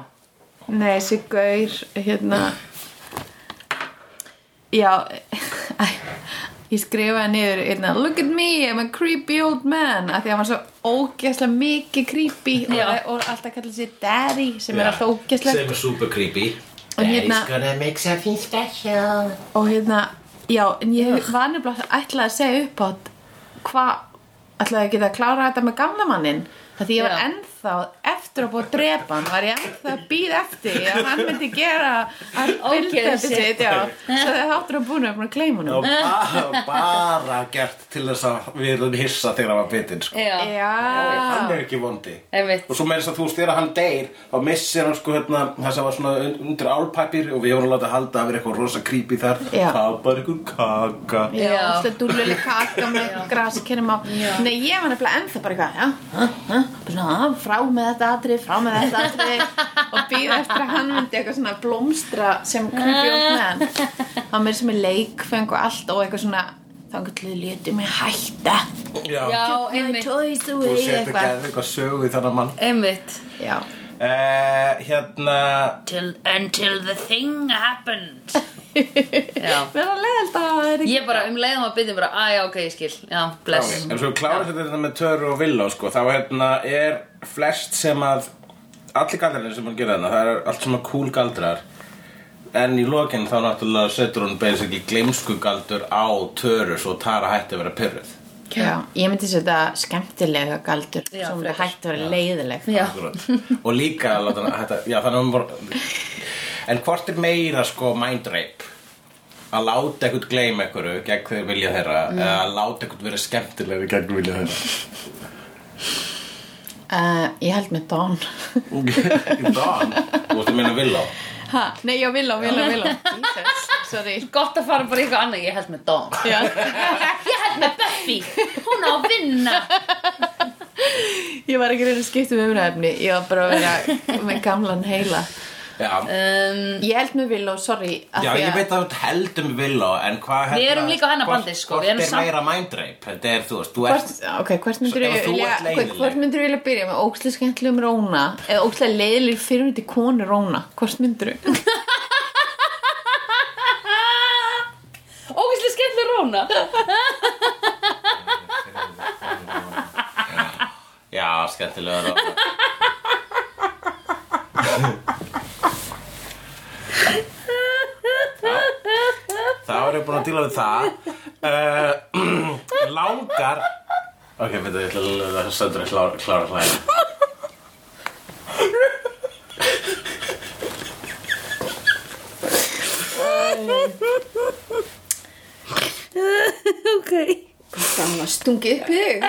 nei, þessi gaur hérna já (laughs) æ, ég skrifaði niður hérna, look at me, I'm a creepy old man af því að hann var svo ógeðslega mikið creepy og,
Já.
og alltaf kallar sér daddy sem
Já,
er alltaf ógeðslega
Sem er super creepy
Og hérna-
Daddy's gonna make something special
og hérna, já, en ég var nefnilega ætlaði að segja upp átt hvað, ætlaði að geta að klára þetta með gamla mannin það því ég var
Já.
ennþá eftir að búið að drepa hann var ég ennþá að býða eftir því að hann myndi gera að fylgja
Ógeðið
þetta
sitt.
sitt, já svo það þáttur að búinu að búin að gleyma hann
Og bara, bara gert til þess að við erum hissa þegar hann var bitinn sko
Já,
hann
já,
er ekki vondi
Ah. Einmitt.
og svo meira þess að þú veist þegar hann deyr þá missir hann sko hérna það sem var svona un- undir álpapir og við vorum að láta halda að vera eitthvað rosa creepy þar
Já.
það var bara einhver kaka
já,
Já.
það dúlulega kaka með graskennum á nei, ég var nefnilega ennþá bara eitthvað já, ha, ha, bara svona, ha, frá með þetta atrið frá með þetta atrið (laughs) og býða eftir að hann myndi eitthvað svona blómstra sem creepy old man hann meir sem er leikfeng og allt og eitthvað svona þangar til þið létu mig hætta
já.
já
my
einmitt
toys
og
away
setja
eitthvað
gæði eitthvað sögu í þannig mann
Einmitt
já,
eh, hérna
Till, Until the thing happened Já
(laughs) verða leiðilt að það er ekki
Ég bara um leiðum að byrja bara, að já, ok, ég skil, já, bless.
en svo klára þetta þetta með Töru og Villó sko þá hérna er flest sem að allir galdrarnir sem hann gera þarna það er allt svona cool galdrar En í lokinn þá náttúrulega setur hún basically gleimsku galdur á Töru svo Tara hætti að vera pyrruð.
Já, ég myndi setja skemmtilega galdur
Já,
sem það
frekar.
hætti að vera leiðileg
Já,
Akkurat. og líka að láta hana- þetta, já, þannig að hún var en hvort er meira sko mind rape að láta eitthvað gleyma einhverju gegn þeir vilja þeirra
Mm.
eða að láta eitthvað vera skemmtilegri gegn vilja
(laughs)
uh, Ég held með Don
þeirra Dan, þú veist að minna Villó
ha, Nei, já, Villó, Villó, Villó (laughs) Jesus, sorry
gott að fara bara í eitthvað annað, ég held með Dawn.
já.
Ég held með Buffy, hún á að vinna.
Ég var ekki reyna að skipta um umræðefni Ég var bara að vera með gamlan heila
já,
Um,
Ég held með Villó, sorry af
já
því
ég veit að þú heldum Villó en hvað
Við
hérna-
erum líka á hennar
hvort-
bandi, sko, við
hvort
erum
er
samt-
meira mind rape, þetta er þú veist þú ert,
Hvort, ok, hvort myndir
Svo ef þú ert leiðinleg.
þú vilja byrja með ókslega skemmtilegum róna eða ókslega leiðileg fyrir út í konu róna hvort myndir þú?
prjóna
Já, skemmtilega ráð Þá er ég búin að díla við það uh, Langar Ok, veit það, ég ætla að söndur að klára, klára hlæða
Ok
Gamla stungi upp í þig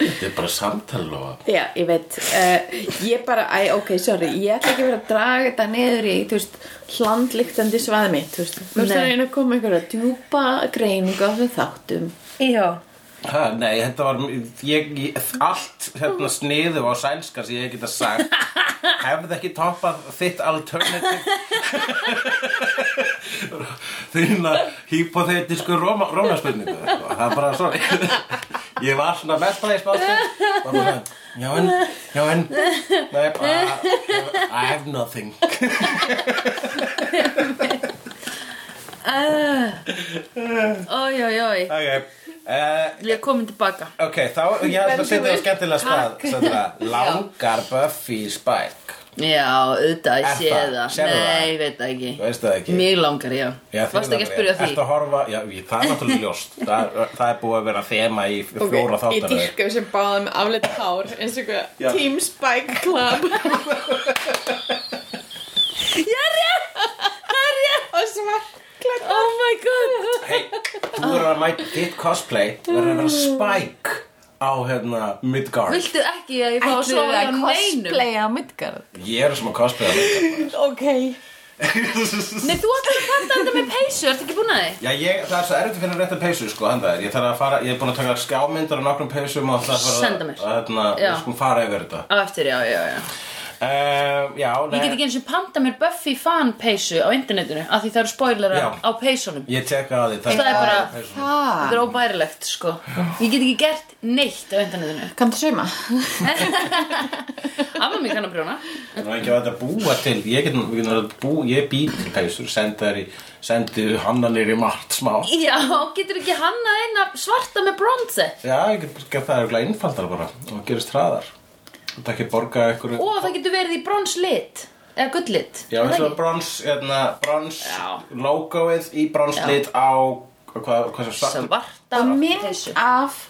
Þetta er bara samtal og
Já, ég veit uh, Ég bara, æ, ok, sorry Ég ætla ekki að vera að draga þetta niður í þú veist, hlandlyktandi svaði mitt Þú veist, þú veist
Nei.
að reyna að koma einhverja djúpa greiningu á þessum þáttum
Já
ha, Nei, þetta var ég, ég, Allt hérna, sniðu á sænska sem ég geta sagt Hefði ekki toppað þitt alternative (laughs) Þína hypothetisku róma, rómaspurningu sko. Það er bara svo Ég var svona mest að ég spátti Var bara svona, Já en, já en Nei, bara I have nothing
Ój, ój, ój
Ok, uh,
Ég er komin tilbaka
ok, þá Ég ætla að setja á skemmtilega stað Sandra. Langar Buffy Spike
Já, auðvitað,
Er
ég sé
það?
það
Sérðu það?
Nei, ég veit það ekki
Þú veist það ekki?
Mjög langar, já,
Já, þið
Varstu ekki að
náttúrulega-
spyrja því?
Ertu að horfa, já, ég- það er náttúrulega ljóst það, er- það er búið að vera þema í fjóra okay,
Ég dýrka sem báðum afleitt hár eins og
Já.
eitthvað Team Spike (laughs) Club
Já, rétt! Það er rétt!
og svart Club
Oh my god
Hei, þú verður að mæta þitt cosplay verður að vera Spike á hérna Midgard
Viltu ekki að ég fá að sofa hjá neinum?
á Midgard
Ég er sem að cosplaya þetta
Ok
Nei, þú ætlar að panta þetta með peysu, ertu ekki búin að þið?
Já, ég, það er svo erfitt að finna rétt að peysu, sko, hann það er Ég þarf að fara, ég er búin að taka skjámyndar á nokkrum peysum og það fara
Senda mér.
að, hérna,
Já.
við skulum fara yfir þetta
Á eftir, já, já, já
um, Já, nei
Ég get ekki eins og panta mér Buffy fan peysu á internetinu af því það eru spoilerar
Já.
á peysunum
Ég teka að því
Það er bara-
peysunum.
Þetta
Það
er óbærilegt, sko Ég get ekki gert neitt á internetinu
Kanntu sauma?
Amma mér kann að brjóna
Það er ekki að þetta búa til Ég get nú- ég get nú að bú, ég bý til peysur Sendi þær í, sendi hannanir í margt smá
Já, getur ekki hanna eina svarta með bronze
Já, ég get gert það er einfaldar bara og gerist hraðar og það ekki borga ykkur
Og það getur verið í bronslit Eða gulllit
Já, eins og
brons
brons, hérna, brons
Já.
logoið í bronslit á hvað, hvað sem svart
Svarta
Og mynd
peysu.
af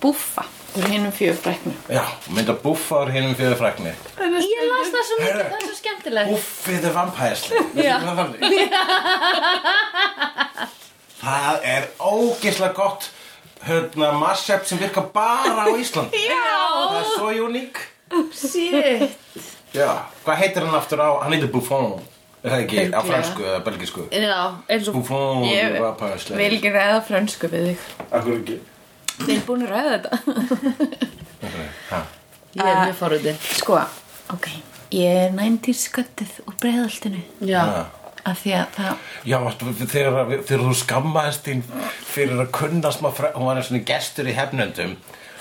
Búffa Þú hinnum fjögur fræknu
Já, mynd að búffa úr hinum fyrir frækni
Ég las það svo mikið, það er svo skemmtilegt
Búffið er vampæðsli
Já.
Það er ógeðslega gott hérna, mashup sem virkar bara á Ísland Það er svo uník
Shit
Já, hvað heitir hann aftur á, hann heitir Buffon Er það ekki, á
Örugglega.
fransku eða belgisku
Já, eins og
Buffon,
Ég
vampæðsli
vil ekki ræða frönsku við þig
Akkur ekki
Þið er búin að ræða þetta
Ég er mjög forröðin
(laughs) Sko, ok Ég er 90s sköttuð úr breiðaltinu
Já,
Af því að það
Já, varstu, þegar, að- þegar þú skammaðist þín fyrir að kunna smá fræ, hún var einu svona gestur í hefnöndum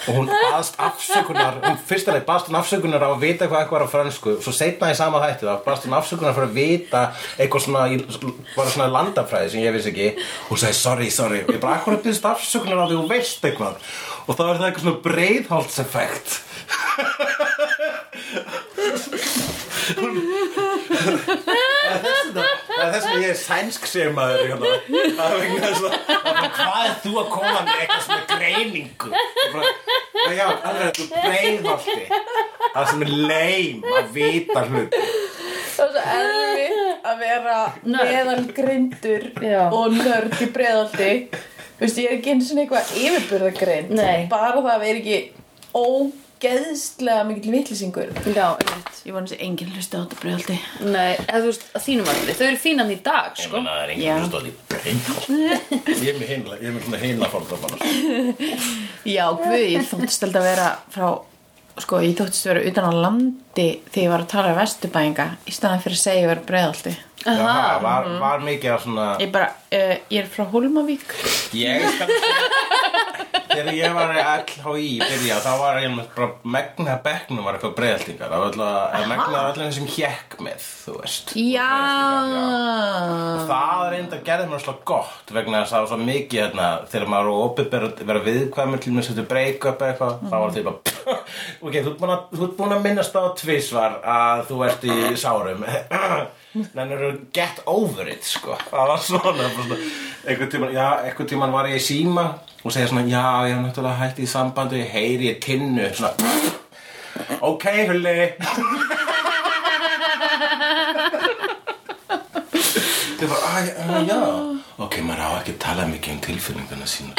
og hún baðst afsökunar hún fyrsta leið baðst hún afsökunar á að vita hvað eitthvað er á fransku svo setna í sama hætti þá baðst hún afsökunar fyrir að vita eitthvað svona í- bara svona landafræði sem ég vissi ekki hún sagði sorry, sorry og ég bara akkur byrðist afsökunar á því hún veist eitthvað og þá er það eitthvað svona breiðhaldseffekt Það er þess að ég er sænsk sem maður hérna. Það er vegna þess að það er bara, hvað er þú að koma með eitthvað svona greiningu Það er bara, "Nei, Já, alveg þú breiðhalti Það sem er leim að vita hlut
Það er svo erfitt að vera meðalgrindur
Já.
og nörd í breiðalti Þú veist, ég er ekki eins og eitthvað yfirburðagrind
Nei.
Bara það að vera ekki ógeðslega mikill vitlisingur
já, einmitt
Ég vona þess að enginn hlusta á þetta breiðalti
Nei, eða þú veist, að þínum allir Þau eru fínan í dag, sko
Það er
Já.
enginn stóð í breiðhalti Ég er með heimla, ég er með svona heimla fólk
Já, guð, ég þóttist alltaf að vera frá Sko, ég þóttist að vera utan á landi þegar ég var að tala um vesturbæinga í staðan fyrir að segja að ég vera breiðalti
Það var, var mikið af svona
eh, Ég bara, uh, ég er frá Hólmavík
Ég skal Þegar ég var í LHI í byrja þá var ég með bara megna bekknum var eitthvað breyðaldingar það var alltaf eða megna allir sem hjekk með þú veist Breiðhyltingar, já.
Já
Það reynda gerði mér slá gott vegna þess að það var svo mikið hérna, þegar maður er opið að vera viðkvæmur til mér setja break-up eða eitthvað þá var þetta bara ok, þú ert búin að- þú ert búin að minnast á tvisvar að þú ert í sárum (clears throat) Þannig eru get over it sko Það var svona, bara svona einhvern tíman, já, einhvern tíman var ég í síma og segja svona, já, ég er náttúrulega hætt í sambandi ég heyri ég tinnu svona, (sniffs) ok, hulli Þau bara, "Æ, já, já Ok, maður á ekki að tala mikið um tilfinningana sína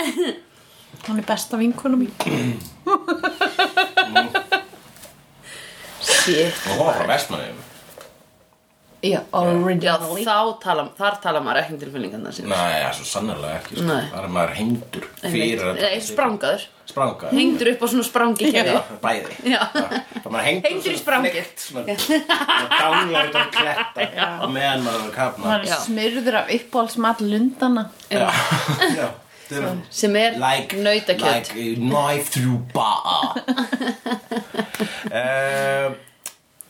Hún er besta vinkona mín
Shit
Og hún var frá vestmannum
Já,
Já,
originally
þá tala, þar tala maður ekki um tilfinningarna sína
Nei, já, svo sannarlega ekki sko.
Nei.
Það er maður hengdur fyrir að-
Nei, sprangaður
Sprangaður
Hengdur upp á svona sprangi
Já,
kerfi
bæði
Já.
Það maður hengdur,
Hengdur í
svona
sprangið.
fleikt, svona- svona danglar út á kletta á meðan maður er að kapna
Hann
Já.
er smyrður af uppáhaldsmat lundana
Já, (laughs) já Þau eru-
Sem er
like,
nautakjöt
like a knife through
(laughs)
bar uh,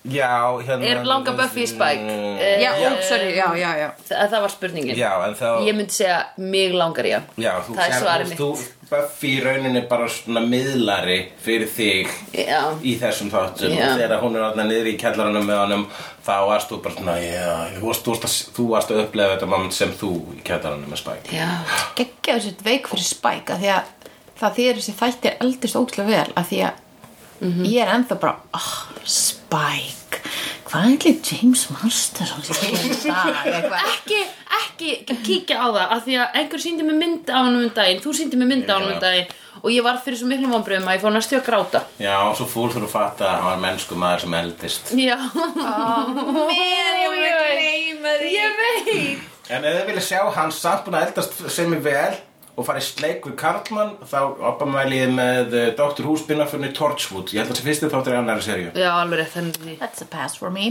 Já, hérna
Er langa Buffy í Spike? Eh,
Já, sorry, já, já, já
Það það var spurningin
Já, en þá
Ég myndi segja mig langar í hann
Já, þú
Það er svarið
þú, þú Buffy í rauninni er bara svona miðlari fyrir þig
Já.
í þessum þáttum
Já.
og þegar hún er alltaf niður í kellaranum með honum þá varst þú bara svona já, þú varst, þú varst, að, þú varst að upplega þetta mann sem þú í kellaranum með Spike
Já
geggjaður sitt veik fyrir Spike að því að það því er þessi þættir eldist ókslega vel að því að
Mhm.
ég er ennþá bara oh, Spike hvað er allir James Master sem segir það
(laughs)
eitthvað
ekki, ekki kíkja á það af því að einhver síndi mér mynd á hann um daginn þú síndi mér mynd á hann um
Já.
daginn og ég var fyrir svo miklu vonbröðum að ég fór næstu að gráta
Já, og svo fór þú að fatta að hann var mennsku maður sem
(laughs)
eldist
Já,
mér
ég var að
gleyma
ég veit
En ef þið vilja sjá hann samt búin að eldast sem er vel og farið sleik við Karlmann þá oppamæliði með eh, Dr. Húsbinnafunni Torchwood ég held að þessi fyrsti þáttur er annari seríu
Já, alveg rétt þannig
that's a pass for me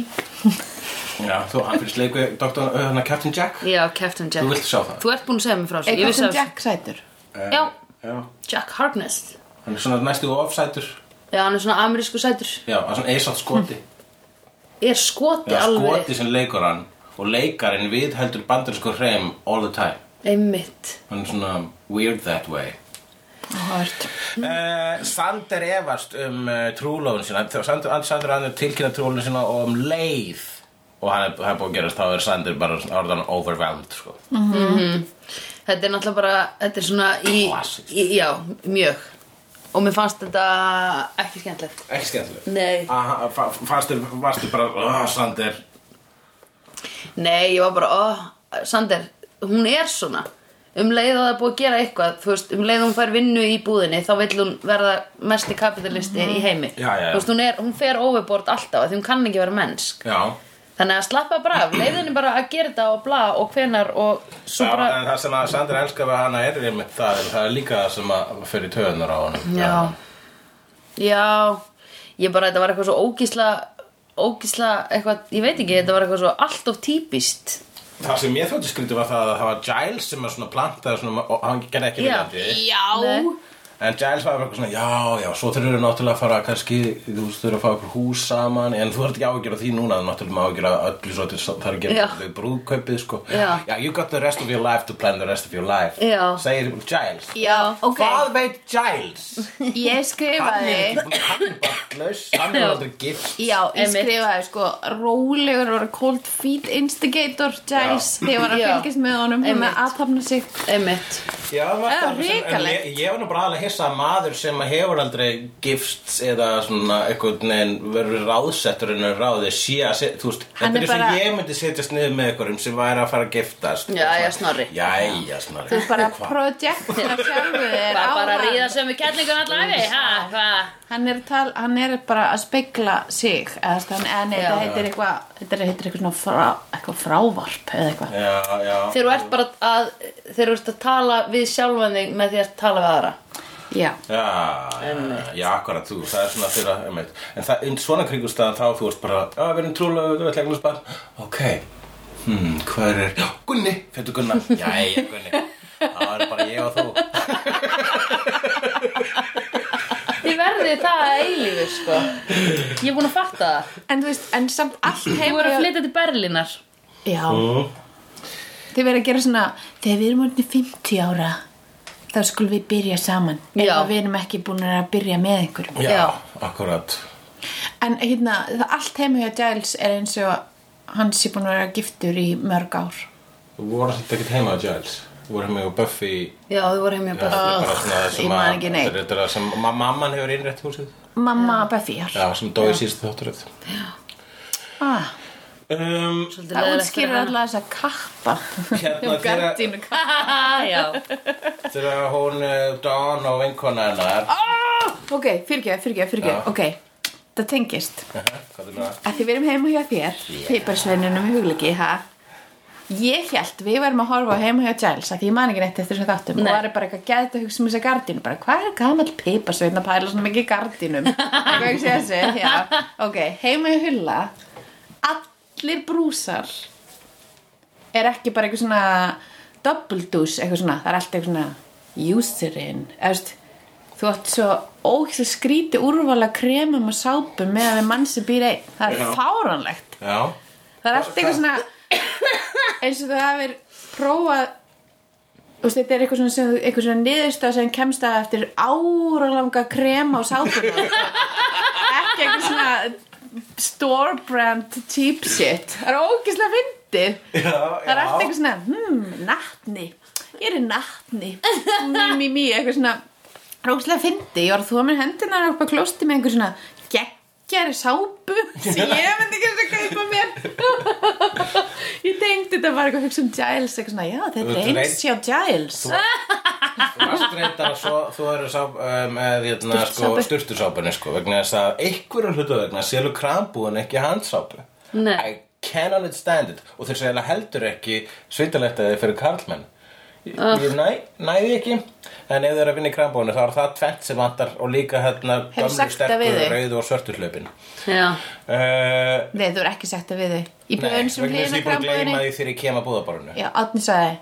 Já, þú, hann fyrir sleik við Dr. Uh, hana, Captain Jack
Já, Captain Jack
Þú vilt sjá það?
Þú ert búin að segja mér frá þessu Ég
eitthvað
vissi
sem
að-
Jack sætur
Já,
Já,
Jack Harkness
hann er svona næstu ofsætur
Já, hann er svona amerísku sætur
Já, hann er svona eisátt
(laughs)
skoti
Er skoti
Já,
alveg
skoti sem leikur hann og leikarinn við heldur bandarinsku hreim all the time
Einmitt
Hann er svona weird that way
Hort.
Mm.
Uh, Sander efast um uh, trúlófun sína Þegar Sander, Andri Sander hann er tilkynna trúlófun sína og um leið og hann er, hann er búið að gerast þá er Sander bara svona- orðan overwhelmed sko.
Mm. Þetta er náttúrulega bara, þetta er svona í,
Klassískt.
í Já, mjög Og mér fannst þetta ekki skemmtilegt
ekki Ah, skemmtileg
Nei
fannstu varstu bara oh, Sander
Nei, ég var bara, ó, Sander, hún er svona Um leið að það er búið að gera eitthvað, þú veist, um leið að hún fær vinnu í búðinni Þá vill hún verða mesti kapitalisti í heimi
Já, já, já.
Þú veist, hún, er, hún fer overboard alltaf af Því hún kann ekki vera mennsk
já
Þannig að slappa bara af, leiðinni bara að gera þetta og bla og hvenar og svo
Já,
bara
en það sem að Sander elskar við hana er einmitt það, en það er líka það sem að fyrir töðunar á honum
Já Já Ég bara, þetta var eitthvað svo ógísla Ógísla, eitthvað, ég veit ekki Þetta var eitthvað svo allt of típist
Það sem ég þótti skrítið var það að það var Giles sem er svona plantaði svona, og hann gerði ekki
Já.
viljandi
já
Nei.
En Giles var bara eitthvað svona, já, já, svo þurfum við náttúrulega að fara kannski, þú veist, þurfum að fá okkur hús saman en þú ert ekki áhyggjur af því núna, þú náttúrulega má áhyggjur af öllu svo til það er
Já.
að gera þau brúðkaupið, sko
Já.
you got the rest of your life to plan the rest of your life
Já.
Segir Giles
já, ok,
Hvað veit Giles?
(laughs)
ég
Hann
skrifaði
er hann er bara glöss, hann er
Já.
aldrei gift
Já, ég
Einmitt.
skrifaði sko rólegur og cold feet instigator Giles þegar ég var að
Já.
fylgjast með honum hún
Einmitt.
með aðtapna sig
Einmitt
Já, það
Já,
var það sem- en
hrikalegt.
ég, ég var nú bara aðlega hissa að maður sem að hefur aldrei gifst eða svona einhvern veginn verður ráðsettur en er ráði sé að, se- þú veist,
Hann
þetta
er
er eins og
bara-
ég myndi setjast niður með einhverjum sem væri að fara að giftast
Jæja, Snorri.
Jæja, snorri
þú er bara
Hva-
projektera
(laughs)
sjálfu þér á
Bara, bara að ríða
hann
sem við kellingur allaveg ha, hva?
hann er, tal, hann er bara að spegla sig eða þú veist, hann, eða
Já.
nei, þetta heitir eitthvað þetta er- heitir eitthvað svona frá, eitthvað frávarp eða eitthvað
Já, já
Þegar þú ert bara að Þegar þú ert að tala við sjálfan þig með því að tala við aðra
já,
Já, já, akkurat, þú, það er svona þeirra, einmitt. En það, in svona kringumstæðan þá, þú veist bara, já, við erum trúlega, við ætlum eignast barn. Ok, hmm, hver er, já, Gunni, fyrir Gunnar. Jæja, Gunni, það er bara ég og þú.
öðru sko Ég er búin að fatta það
En þú veist, en samt allt
Þú
heima
eru að flytja til Berlínar
Já Þið verður að gera svona Þegar við erum orðin 50 ára Þá skulum við byrja saman
Já.
Ef að við erum ekki búin að byrja með einhverjum
Já,
Já.
akkurat
En hérna, það allt heima hjá Giles er eins og Hann sé búin að vera giftur í mörg ár
Þú voru þetta ekkert heima á Giles Þú voru heima á Buffy
Já, þau voru heim í
Þetta
Berlín
er bara svona það
ég
sem
man
að-
ekki neitt.
þetta er þetta sem ma- mamman hefur innrætt húsið
Mamma Buffy ár
Já, sem dói síðustu þátturöð
ah,
um,
Svolítið
Það
leiðilegt fyrir
útskýrir
hana.
alltaf þess að kappa (laughs)
Hérna þegar
Gardínu kappa
(laughs) Já,
þegar hún eh, Dawn og vinkona hennar
Ah! Ok, fyrirgeðu, fyrirgeðu, fyrirgeðu
Ah! Já.
Ok, það tengist
Hvað er það?
að því við erum heima hjá þér yeah. peiparsveinunum í hugleiki ha? ég held við varum að horfa á heima hjá Giles að því ég man ekki neitt eftir þessum þáttum
Nei.
og var bara eitthvað gæðt að hugsa um þessa gardínu bara hvað er gamall peiparsvein að pæla svona mikið í
(laughs)
gardínum eitthvað ekki sé þessu já. ok, heima hjá Hulla allir brúsar er ekki bara eitthvað svona double douche, eitthvað svona, það er alltaf eitthvað svona userinn, eða þú veist þú átt svo ókvæmst skríti úrvala kremum og sápum með að mann sem býr einn, það er
Já.
fáranlegt
Já
það er alltaf eitthvað svona eins og það hafir prófað Þú veist, þetta er eitthvað svona, sem, þú- eitthvað svona niðurstað sem kemst að eftir áralanga krema og sápum ekki eitthvað svona store brand cheap shit það er ókvæmstlega fyndið
Já, já
það er alltaf eitthvað svona hmm, natni, ég er í
(laughs)
natni mí, mí, mí, eitthvað svona rókslega fyndi, ég var að þú að mér hendunar upp að klósti með einhver svona geggjari sápu
(laughs)
sem ég myndi ekki að kaupa mér (laughs) ég tengdi þetta bara eitthvað hugsa um Giles eitthvað svona, já
Þú
þetta
ert
er eins hjá Giles
Þú varst reyndar að svo, þú eru sá, eh, með hérna, sko,
Sturtusápu.
sturtusápunni sko, vegna þess að einhverjum hlutu vegna selur krambúin ekki handsápu
Nei.
I cannot stand it og þeir segja heldur ekki sveitalegt að þeir fyrir karlmenn Ég, ég næ, næði ekki en ef þeir eru að vinna í krambúinu þá er það tvent sem vantar og líka hérna
Hefur
gömlu
sagt það
sterku,
við þig?
rauðu og svörtu hlaupin
já
uh,
nei þú er ekki sett að við þau í
Nei, vegna
blöðun
þess
sem
að ég
hlýna
er búin að gleyma
krambúðinni
því þegar ég kem að búðaborinu
já, Átni sagði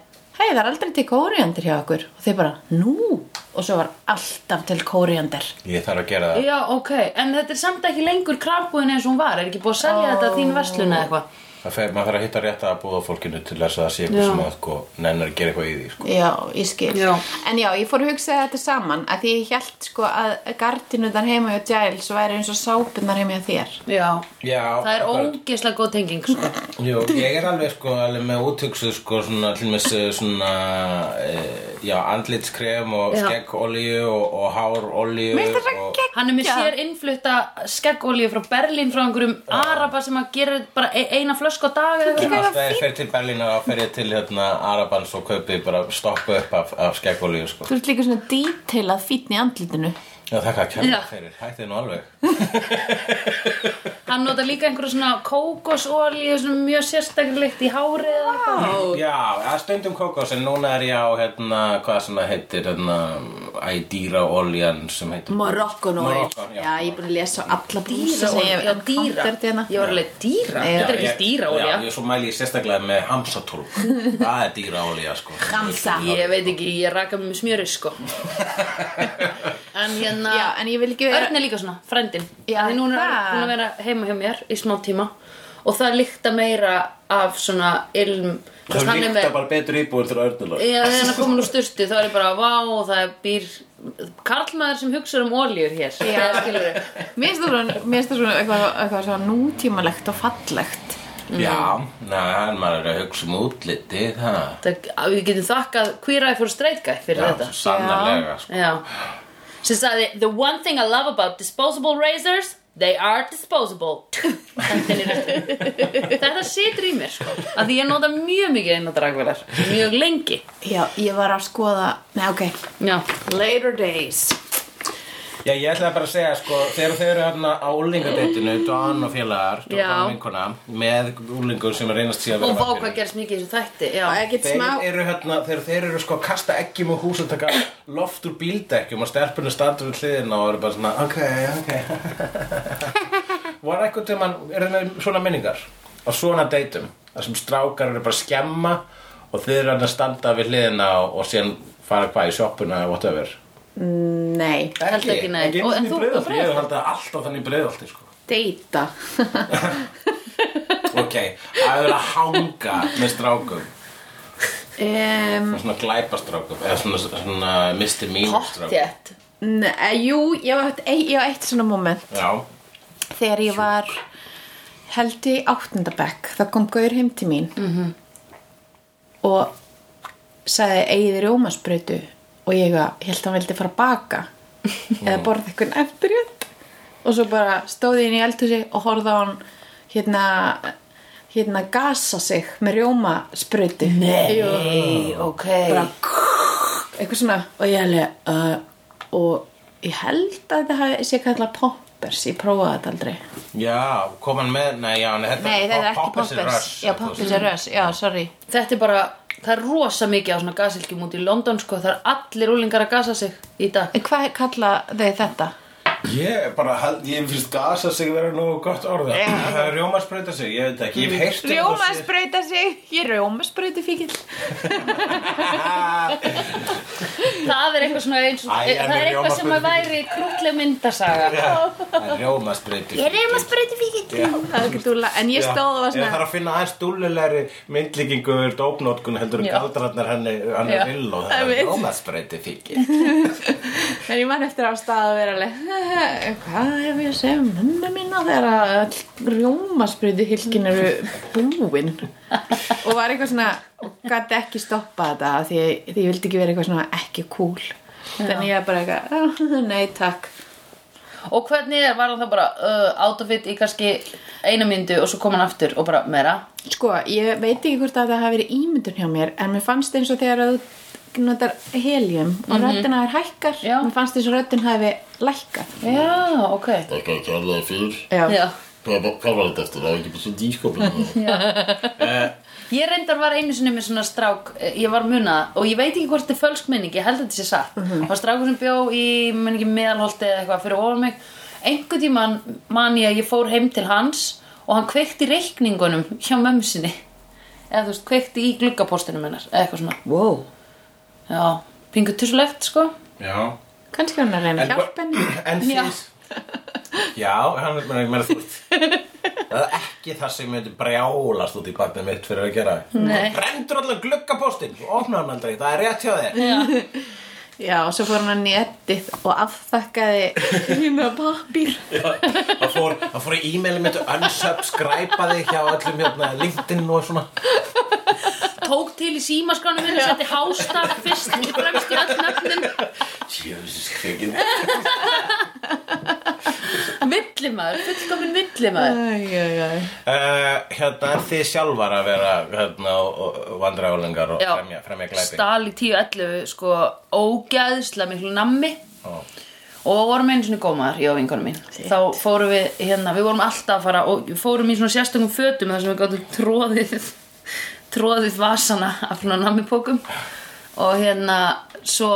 hei það er aldrei til kóriandir hjá okkur og þeir bara, nú og svo var alltaf til kóriandir
Ég þarf að gera það
Já, ok En þetta er samt ekki lengur krabbúin eins og hún var Er ekki búið að selja þetta að þín verslun eða eitthvað
Það fer, maður þarf að hitta rétt að búða fólkinu til þess að það sé eitthvað
Já.
sem að sko, nennar að gera eitthvað í því sko.
Já, ég skil.
Já.
En já, ég fór að hugsa þetta saman að því ég held sko að gardinuðar heima hjá Giles væri eins og sápunar heima hjá þér.
Já
Já,
Það er ógeðslega góð tenging
(laughs)
sko.
Jú, ég er alveg sko alveg með útugsuð sko svona til með svona e, já, andlitskrem og
Já.
skeggolíu og, og hárolíu
Mér finnst þetta
og-
gegn-
Hann er með
Já.
sér innflutta skeggolíu frá Berlín frá einhverjum araba sem að gera bara e- eina flösku á dag eða
(laughs)
En
eitthvað.
Alltaf ég fer til Berlín og þá fer ég til hérna Arabans og kaupi bara stoppa upp af, af skeggolíu sko
Þú ert líka svona detailað fítn í andlitinu.
Já, þakka að
Já.
kemja fyrir, hætti nú alveg
Hann nota líka einhverja svona kókosolíu svona mjög sérstakleikt í hárið eða eitthvað
Já, að stundum kókos en núna er ég á hérna, hvað sem það heitir hérna, ædýra oljan sem heitir
Moroccan oil.
Moroccan, já.
já. ég er búin að lesa á alla brúsa
Dýra,
sem ég
já, dýra
Kontert hérna.
Ég var alveg dýra,
Já,
þetta er ekki
ég-
dýra
Já, ég svo mæli ég sérstaklega með hamsatólk Það er dýraolja sko
Hamsa.
Ég veit ekki, ég raka mig með smjöri
(laughs)
sko En hérna
Já, en ég vil ekki vera...
Örn er líka svona, frændin
Já,
Því núna er
það.
Örn búin að vera heima hjá mér í smá tíma Og það líkta meira af svona ilm þú veist,
Það
hann er
líkta
með-
bara betur íbúður til örnulag
Já, þegar hann er komin úr sturtu þá er ég bara Vá, það er býr Karlmaður sem hugsa um olíur hér Eða skilur við.
Mér finnst það svona, mér finnst það svona eitthvað, eitthvað svona nútímalegt og fallegt.
Já, næ, maður er að hugsa um útliti Það
Það, að Við getum þakkað kvíraði fór streika fyrir
Já,
þetta
svo sannarlega sko
Já Sem sagði The one thing I love about disposable razors They are disposable Þetta er í restinni. Þetta situr í mér sko Af því ég nota mjög mikið einn á dragvelar Mjög lengi
Já, ég var að skoða... Nei, ok.
Já
Later days.
Já, ég ætlaði bara að segja, sko, þegar þau eru hérna á úlingadeitinu, Don og félagar, Don
Já.
og vinkona, með úlingum sem er reynast síðan
Og vá hvað gerst mikið í þessu þætti Já
Og ekkert smá...
Þeir eru hérna, þegar þeir eru sko að kasta eggjum og hús og taka loft úr bíldekkjum og stelpunni standur við hliðina og eru bara svona, ok, (laughs) ok. Var eitthvað til mann, eru þeir með svona minningar á svona deitum, þar sem strákar eru bara að skemma og þeir eru hérna að standa við hliðina og, og síðan fara hvað í sjoppuna eða whatever.
Nei
Ég held ekki, nei.
Ekki
Og- en
einu sinni
þú-
í Breiðholti,
og
Ég hef haldið alltaf þannig í breiðalti sko.
Deita
Ok, að vera að hanga með strákum
um,
Svona glæpastrákum Eða svona, svona Mr. Mean strákum
Pottjett
Nei, eh, jú, ég var eitt, ég var eitt svona moment
Já,
þegar ég var held ég áttundabekk þá kom Gaur heim til mín mm
Mhm.
-hmm. og sagði eigið rjómasbrautu og ég var- ég held að hann vildi fara að
(laughs)
baka eða borða eitthvað eftir og svo bara stóði ég inn í eldhúsi og horfði á hann hérna hérna gasa sig með rjómasbrautu Jú,
Nei, ok
bara eitthvað svona og ég held uh, og ég held að þetta hafi- sé kallað poppers, ég prófaði þetta aldrei
já, kom hann með Nei, já, nei, þetta
Nei, þetta er ekki
Poppers er
Poppers
Rush,
Já,
þú
Poppers
veist.
er Rush, já, sorry
Þetta er bara, það er rosa mikið á svona gasilgjum út í London sko Það er allir úlingar að gasa sig í dag
En Hvað kalla þau þetta?
Ég bara, held- ég finnst gasa sig vera nógu gott orða Rjómasprauta sig, ég veit
Mm,
ekki, ég hef heyrt um
Rjóma
(laughs) þessi-
sprauta sig Ég rjóma sprauta fíkil
Það er eitthvað svona eins og
Æ, en
Það er
við
eitthvað sem að
rjómasprautum.
væri krútleg myndasaga
Já, Rjómasprauta Ég
sprauta fíkil Það er ekki dúla En ég stóð og var
Ég þarf
svona
að finna aðeins dúlulegri myndlíkingu yfir dópnótkun heldur en
Já.
galdrarnar henni hann
Já.
er vill og það
Einmitt.
er rjómasbreyti fíkir
(laughs) En ég man eftir á stað að vera alveg Hvað hef ég að segja um mömmu mína þegar að rjóma sprauta fíkil eru búin Og var eitthvað svona Og gæti ekki stoppa þetta af Því ég, því ég vildi ekki vera eitthvað svona ekki cool Þannig ég bara eitthvað "Ah, Nei, takk
Og hvernig er, var hann það bara uh, out of it í kannski eina myndu og svo kom hann aftur og bara meira
Sko, ég veit ekki hvort að það hafi verið ímyndun hjá mér en mér fannst eins og þegar að þú notar helium og mm röddina er hækkar
Mhm. Já.
mér fannst eins og röddin hafi lækkað
Já, ok
Þakka kærlega fyrir.
Já,
Já.
Hvað hvað var þetta eftir? Það var ekki bara svolítið ískopin.
Ég reyndar var einu sinni með svona strák eh, Ég var munað og ég veit ekki hvort þetta er fölsk minning Ég held að þetta sé satt Það var strákur sem bjó í menn ekki meðalholti eða eitthvað fyrir ofan mig Einhvern tímann man ég að ég fór heim til hans Og hann kveikti reikningunum hjá mömmu sinni Eða þú veist, kveikti í gluggapóstinum hennar Eða eitthvað svona
wow.
Já, pingu tussulegt sko
(laughs) Já
kannski var hann að reyna að
En-
hjálpa henni
En
Já.
þið Já, hann er meira meira þú Það er ekki það sem myndi brjálast út í barnið mitt fyrir að gera
Nei.
Brendur allan gluggapóstinn og opna hann aldrei, það er rétt hjá þér
Já,
Já, og svo fór hann að netið og afþakkaði (laughs) hérna pappír
Það fór, það fór í e-mailin mitt og unsubscribe þig hjá öllum hérna LinkedIn og svona
tók til í símaskránu minn og setti hástaf fyrst í fremst í öll nöfnin
Jesus, kveikinn
Villimaður, fullkomin villimaður
Æ, já, já.
Uh, hérna, en þið sjálfar að vera hérna, vandræðulengar og
Já.
fremja, fremja glæpi
Stal í 10-11 sko ógæðsla miklu nammi
Ó.
og vorum einu sinni gómaðar, ég og vinkonum mín þá fórum við, hérna, við vorum alltaf að fara og við fórum í svona sérstökum fötum þar sem við gáttum tróðið (laughs) tróðið vasana af svona nammipókum og hérna svo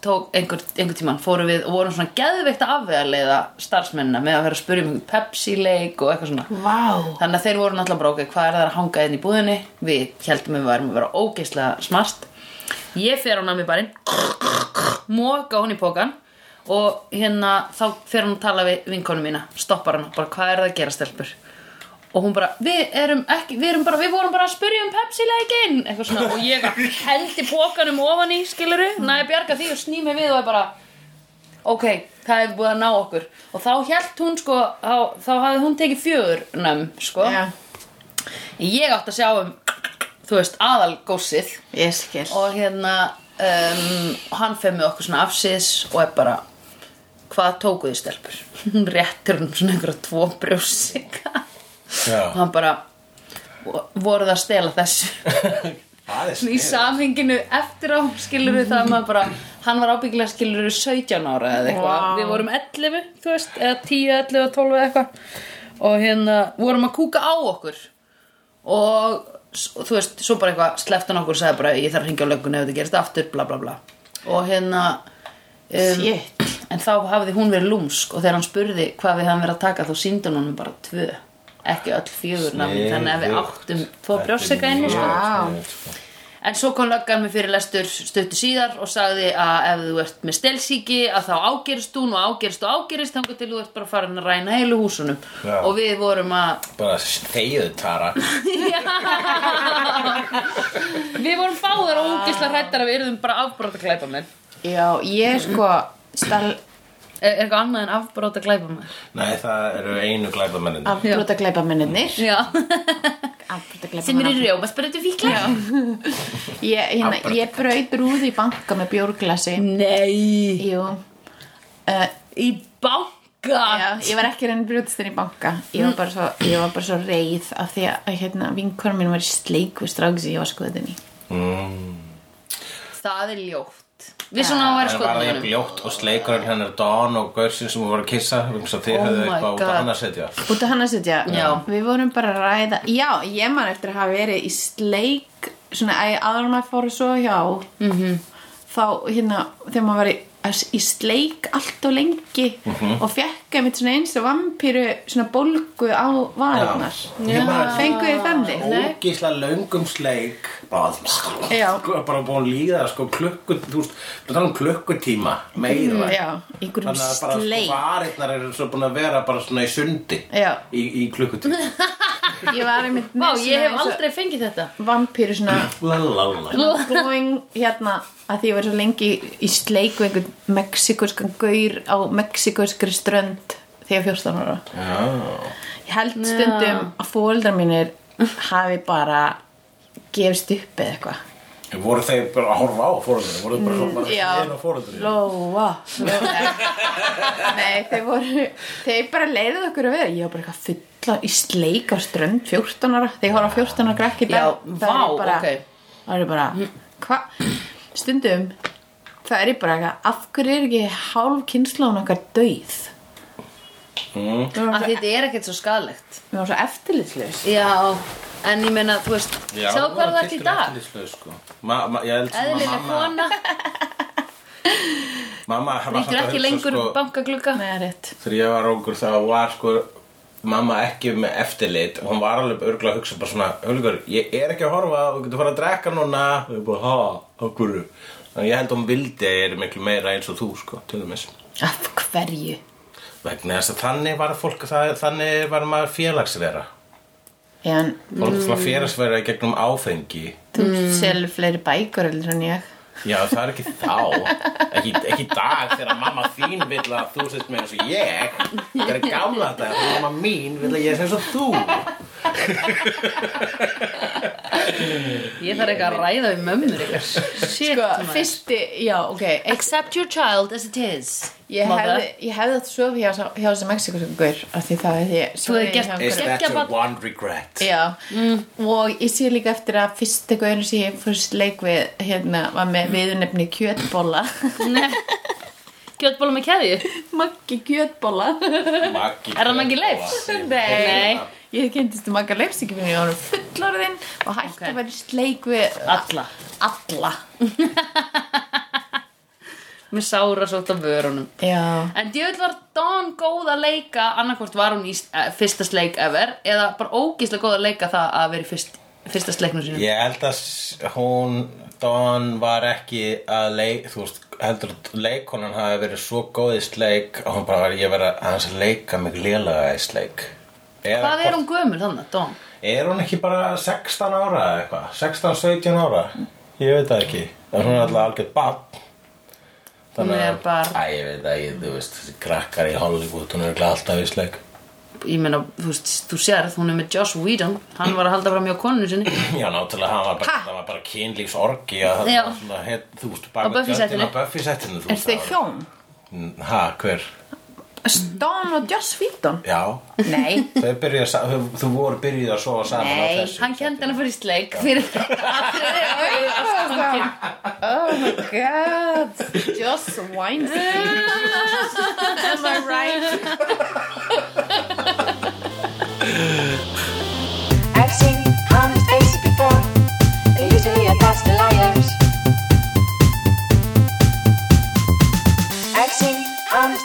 tók einhver, einhver tíman fórum við og vorum svona geðveikt að afvegarleiða starfsmennina með að vera að spyrja um einhvern Pepsi-leik og eitthvað svona
Vá
Þannig að þeir voru náttúrulega bara ok, hvað er það að hanga inn í búðinni? Við heldum við varum að vera ógeislega smart. Ég fer á námi barinn, móka hún í pókan og hérna þá fer hún að tala við vinkonu mína, stoppar hann, bara hvað er það að gera stelpur? Og hún bara, við erum ekki, við erum bara, við vorum bara að spyrja um Pepsi-leikinn, eitthvað svona, og ég held í pókanum ofan í, skiluru, næ, bjarga því og sný mig við og er bara, ok, það hefði búið að ná okkur og þá hjælt hún sko á, þá hafði hún tekið fjögur nömm sko,
Já,
ég átti að sjá um þú veist, aðal gósið
ég skil
og hérna um, hann fer með okkur svona afsýðis og er bara hvað tókuði stelpur (laughs) hún réttir hún svona einhverja tvo brjósika og
Já,
hann bara "Vo- voruð að stela þessu (laughs)
það er
Svona í samhenginu eftir á skilur við það að maður bara hann var ábyggilega skilur við 17 ára eða eitthvað,
Vá.
við vorum 11 þú veist, eða 10, 11, 12 eða eitthvað og hérna vorum að kúka á okkur og s- þú veist, svo bara eitthvað sleftan okkur og sagði bara ég þarf að hringja á löggun ef þetta gerist aftur, bla bla bla og hérna
Shit.
en þá hafði hún verið lúmsk og þegar hann spurði hvað við hafum verið að taka þá síndi hún honum bara tvö ekki öll fjögur nafn, þannig að við
Sniðugt.
áttum tvo brjósika inni sko.
Já.
Sniðugt, sko.
En svo kom löggan með fyrirlestur stuttu síðar og sagði að ef þú ert með stelsíki að þá ágerist hún og ágerist og ágerist þangar til þú ert bara farin að ræna heilu húsunum
Já.
og við vorum
(laughs)
að
Bara þeyðu Tara
við vorum báðar og úgisla hrættar að við erum bara afbróta glæpamenn
Já, ég sko stall
er, er eitthvað annað en afbróta glæpamenn
Nei, það eru einu glæbamennin
afbrota gleipa minniðnir
Já, (laughs)
Afbrota gleipa
sem eru rjóma spyrðu fíklar
Ég, hérna, ég braut rúðu í banka með bjórglasi
Nei,
Jú uh,
í banka
já, Ég var ekki reyna brjótistinn í banka Ég var bara svo, ég var bara svo reið af því að hérna, vinkonar mín var í sleik við stráki sem ég var skoðin í
Mm.
Það er ljótt Við svona að vera
Það var það
skoðunum
jafn ljótt og sleikurinn hennar Don og Gaursin sem voru að kissa vegna þess að þeir
Oh
höfðu
my
eitthvað út
God.
að hann að setja
Út af hann að setja
Já.
Við vorum bara að ræða Já, ég man eftir að hafa verið í sleik Svona æ, áður en maður fóru svo hjá
Mhm.
-hmm. Þá hérna Þegar maður var í, í sleik Allt og lengi
Mhm.
Og fekk einmitt svona eins og vampíru Svona bólgu á varnar
Ég bara
Fengu ég þannig
ógísla löngum sleik bara,
Já.
sko, bara búin að líða sko, klukku, þú veist, þú talar um klukkutíma meira
Mm, Já, einhverjum
þannig að bara sko,
sleik
varirnar eru svo búin að vera bara svona í sundi
Já.
í, í klukkutíma
(laughs) Ég var einmitt
Vá, ég hef aldrei fengið þetta
Vampíru svona
Lalalala.
Blóing hérna að því ég var svo lengi í sleik við einhvern mexikoskan gaur á mexikoskri strönd þegar 14 ára
Já.
ég held stundum að fóldrar mínir hafi bara gefst upp eða eitthvað
voru þeir bara að horfa á fóröldurinn voru
Mm,
þeir bara svona bara
já.
hliðin á fóröldurinn
Lóa Nei, þeir voru þeir bara leiðið okkur að vera ég var bara eitthvað fulla í sleik á strönd 14 ára, þeir horfa á 14 ára grekk í dag
Já,
það
vá,
er bara,
ókei.
það er bara hva, stundum það er ég bara eitthvað, af hverju er ekki hálf kynnslóðan okkar döið við
Af
varum
því
svo,
þetta er ekkert svo skalegt
við varum svo eftirlitslaus
Já, en ég meina, þú veist
Já,
Sjáðu hvað það er í dag
tiltölulega eftirlitslaus, sko. ma, ma, ég held sem að
Eðlileg
mamma
kona,
mamma hafa
rítur
alltaf
ekki
hugsað,
lengur
sko,
bankaglugga
Nei, rétt
þegar ég var ungur þá var sko mamma ekki með eftirlit og hún var alveg örgulega að hugsa bara svona örgulega, ég er ekki að horfa, þú getur fara að drekka núna og ég bara, ha, á hverju þannig að ég held að hún vildi að ég er miklu meira eins og þú sko, til dæmis
af hverju
vegna þess að þannig var fólk það, þannig var maður félagsvera
Já, en
fólk
Mm.
var félagsvera í gegnum áfengi
þú selur fleiri bækur heldur en ég
já, það er ekki þá ekki, ekki í dag þegar mamma þín vil að þú sést með eins og ég það er gamla þetta, mamma mín vil að ég sé eins og þú
Ég þarf eitthvað að ræða við mömmur ykkar Shit,
Sko,
maður.
fyrsti, já, ok eitt
Accept your child as it is
Ég
mother.
hefði, ég hefði að sofa hjá, hjá þessi mexikoskur af því það hefði
Þú
ég
hefði
sofið
gert-
hjá
Is
einhverjum-
that
Geggja
your
barn.
one regret?
Já, og ég sé líka eftir að fyrst eitthvað einu sem ég fyrst leik við hérna, var með viðurnefni kjötbóla
Nei. Kjötbóla með keðju
(laughs) Maggi kjötbóla
Maggi
Er það Maggi Leifs? Nei.
(laughs) Ég kynntist um Magga Leifs ekki fyrir ég var fullorðin og hætti
Ok.
að vera í sleik við
Alla
alla
Mér sára svolít af vörunum
Já,
En djöðl var Dawn góð að leika annarkvort var hún í eh, fyrsta sleik ever eða bara ógíslega góð að leika það að vera í fyrst, fyrsta sleiknum sínum
Ég held að s- hún, Don var ekki að leik, þú veist, heldur að leikonan hafi verið svo góð í sleik að hún bara var ég verið að hans að leika mig lélaga í sleik. Eða
Hvað er
hvort-
hún gömul þannig, Dawn?
Er hún ekki bara 16 ára eða eitthvað? 16-17 ára? Ég veit það ekki. En hún er alltaf algjörð bann.
Hún er barn.
Æ, ég veit það ekki, þú veist, þessi krakkar í Hollywood, hún er örugglega alltaf í sleik.
Ég meina, þú veist, þú sérð, hún er með Joss Whedon Hann var að halda fram hjá konunni sinni
(clears throat) Já, náttúrulega, hann var bara, hann var bara kynlífsorgi að það
Já.
var svona, heit, þú veist,
Á
bara
Buffy
tjöldin
settinu.
á Buffy settinu þú
er þau
það var-
hjón?
Mm, Ha, hver?
Stón og Joss Víton?
Já,
Mhm.
(laughs)
Nei, (laughs)
þau byrjuð, að sa- þau- þú voru byrjuð að sofa saman á
Nei,
þessu
Hann kendi hann að fara í sleik fyrir
Oh my god Joss Weinstein Am I right?
I've seen honest faces before. They're usually a pass to liars. I've seen honest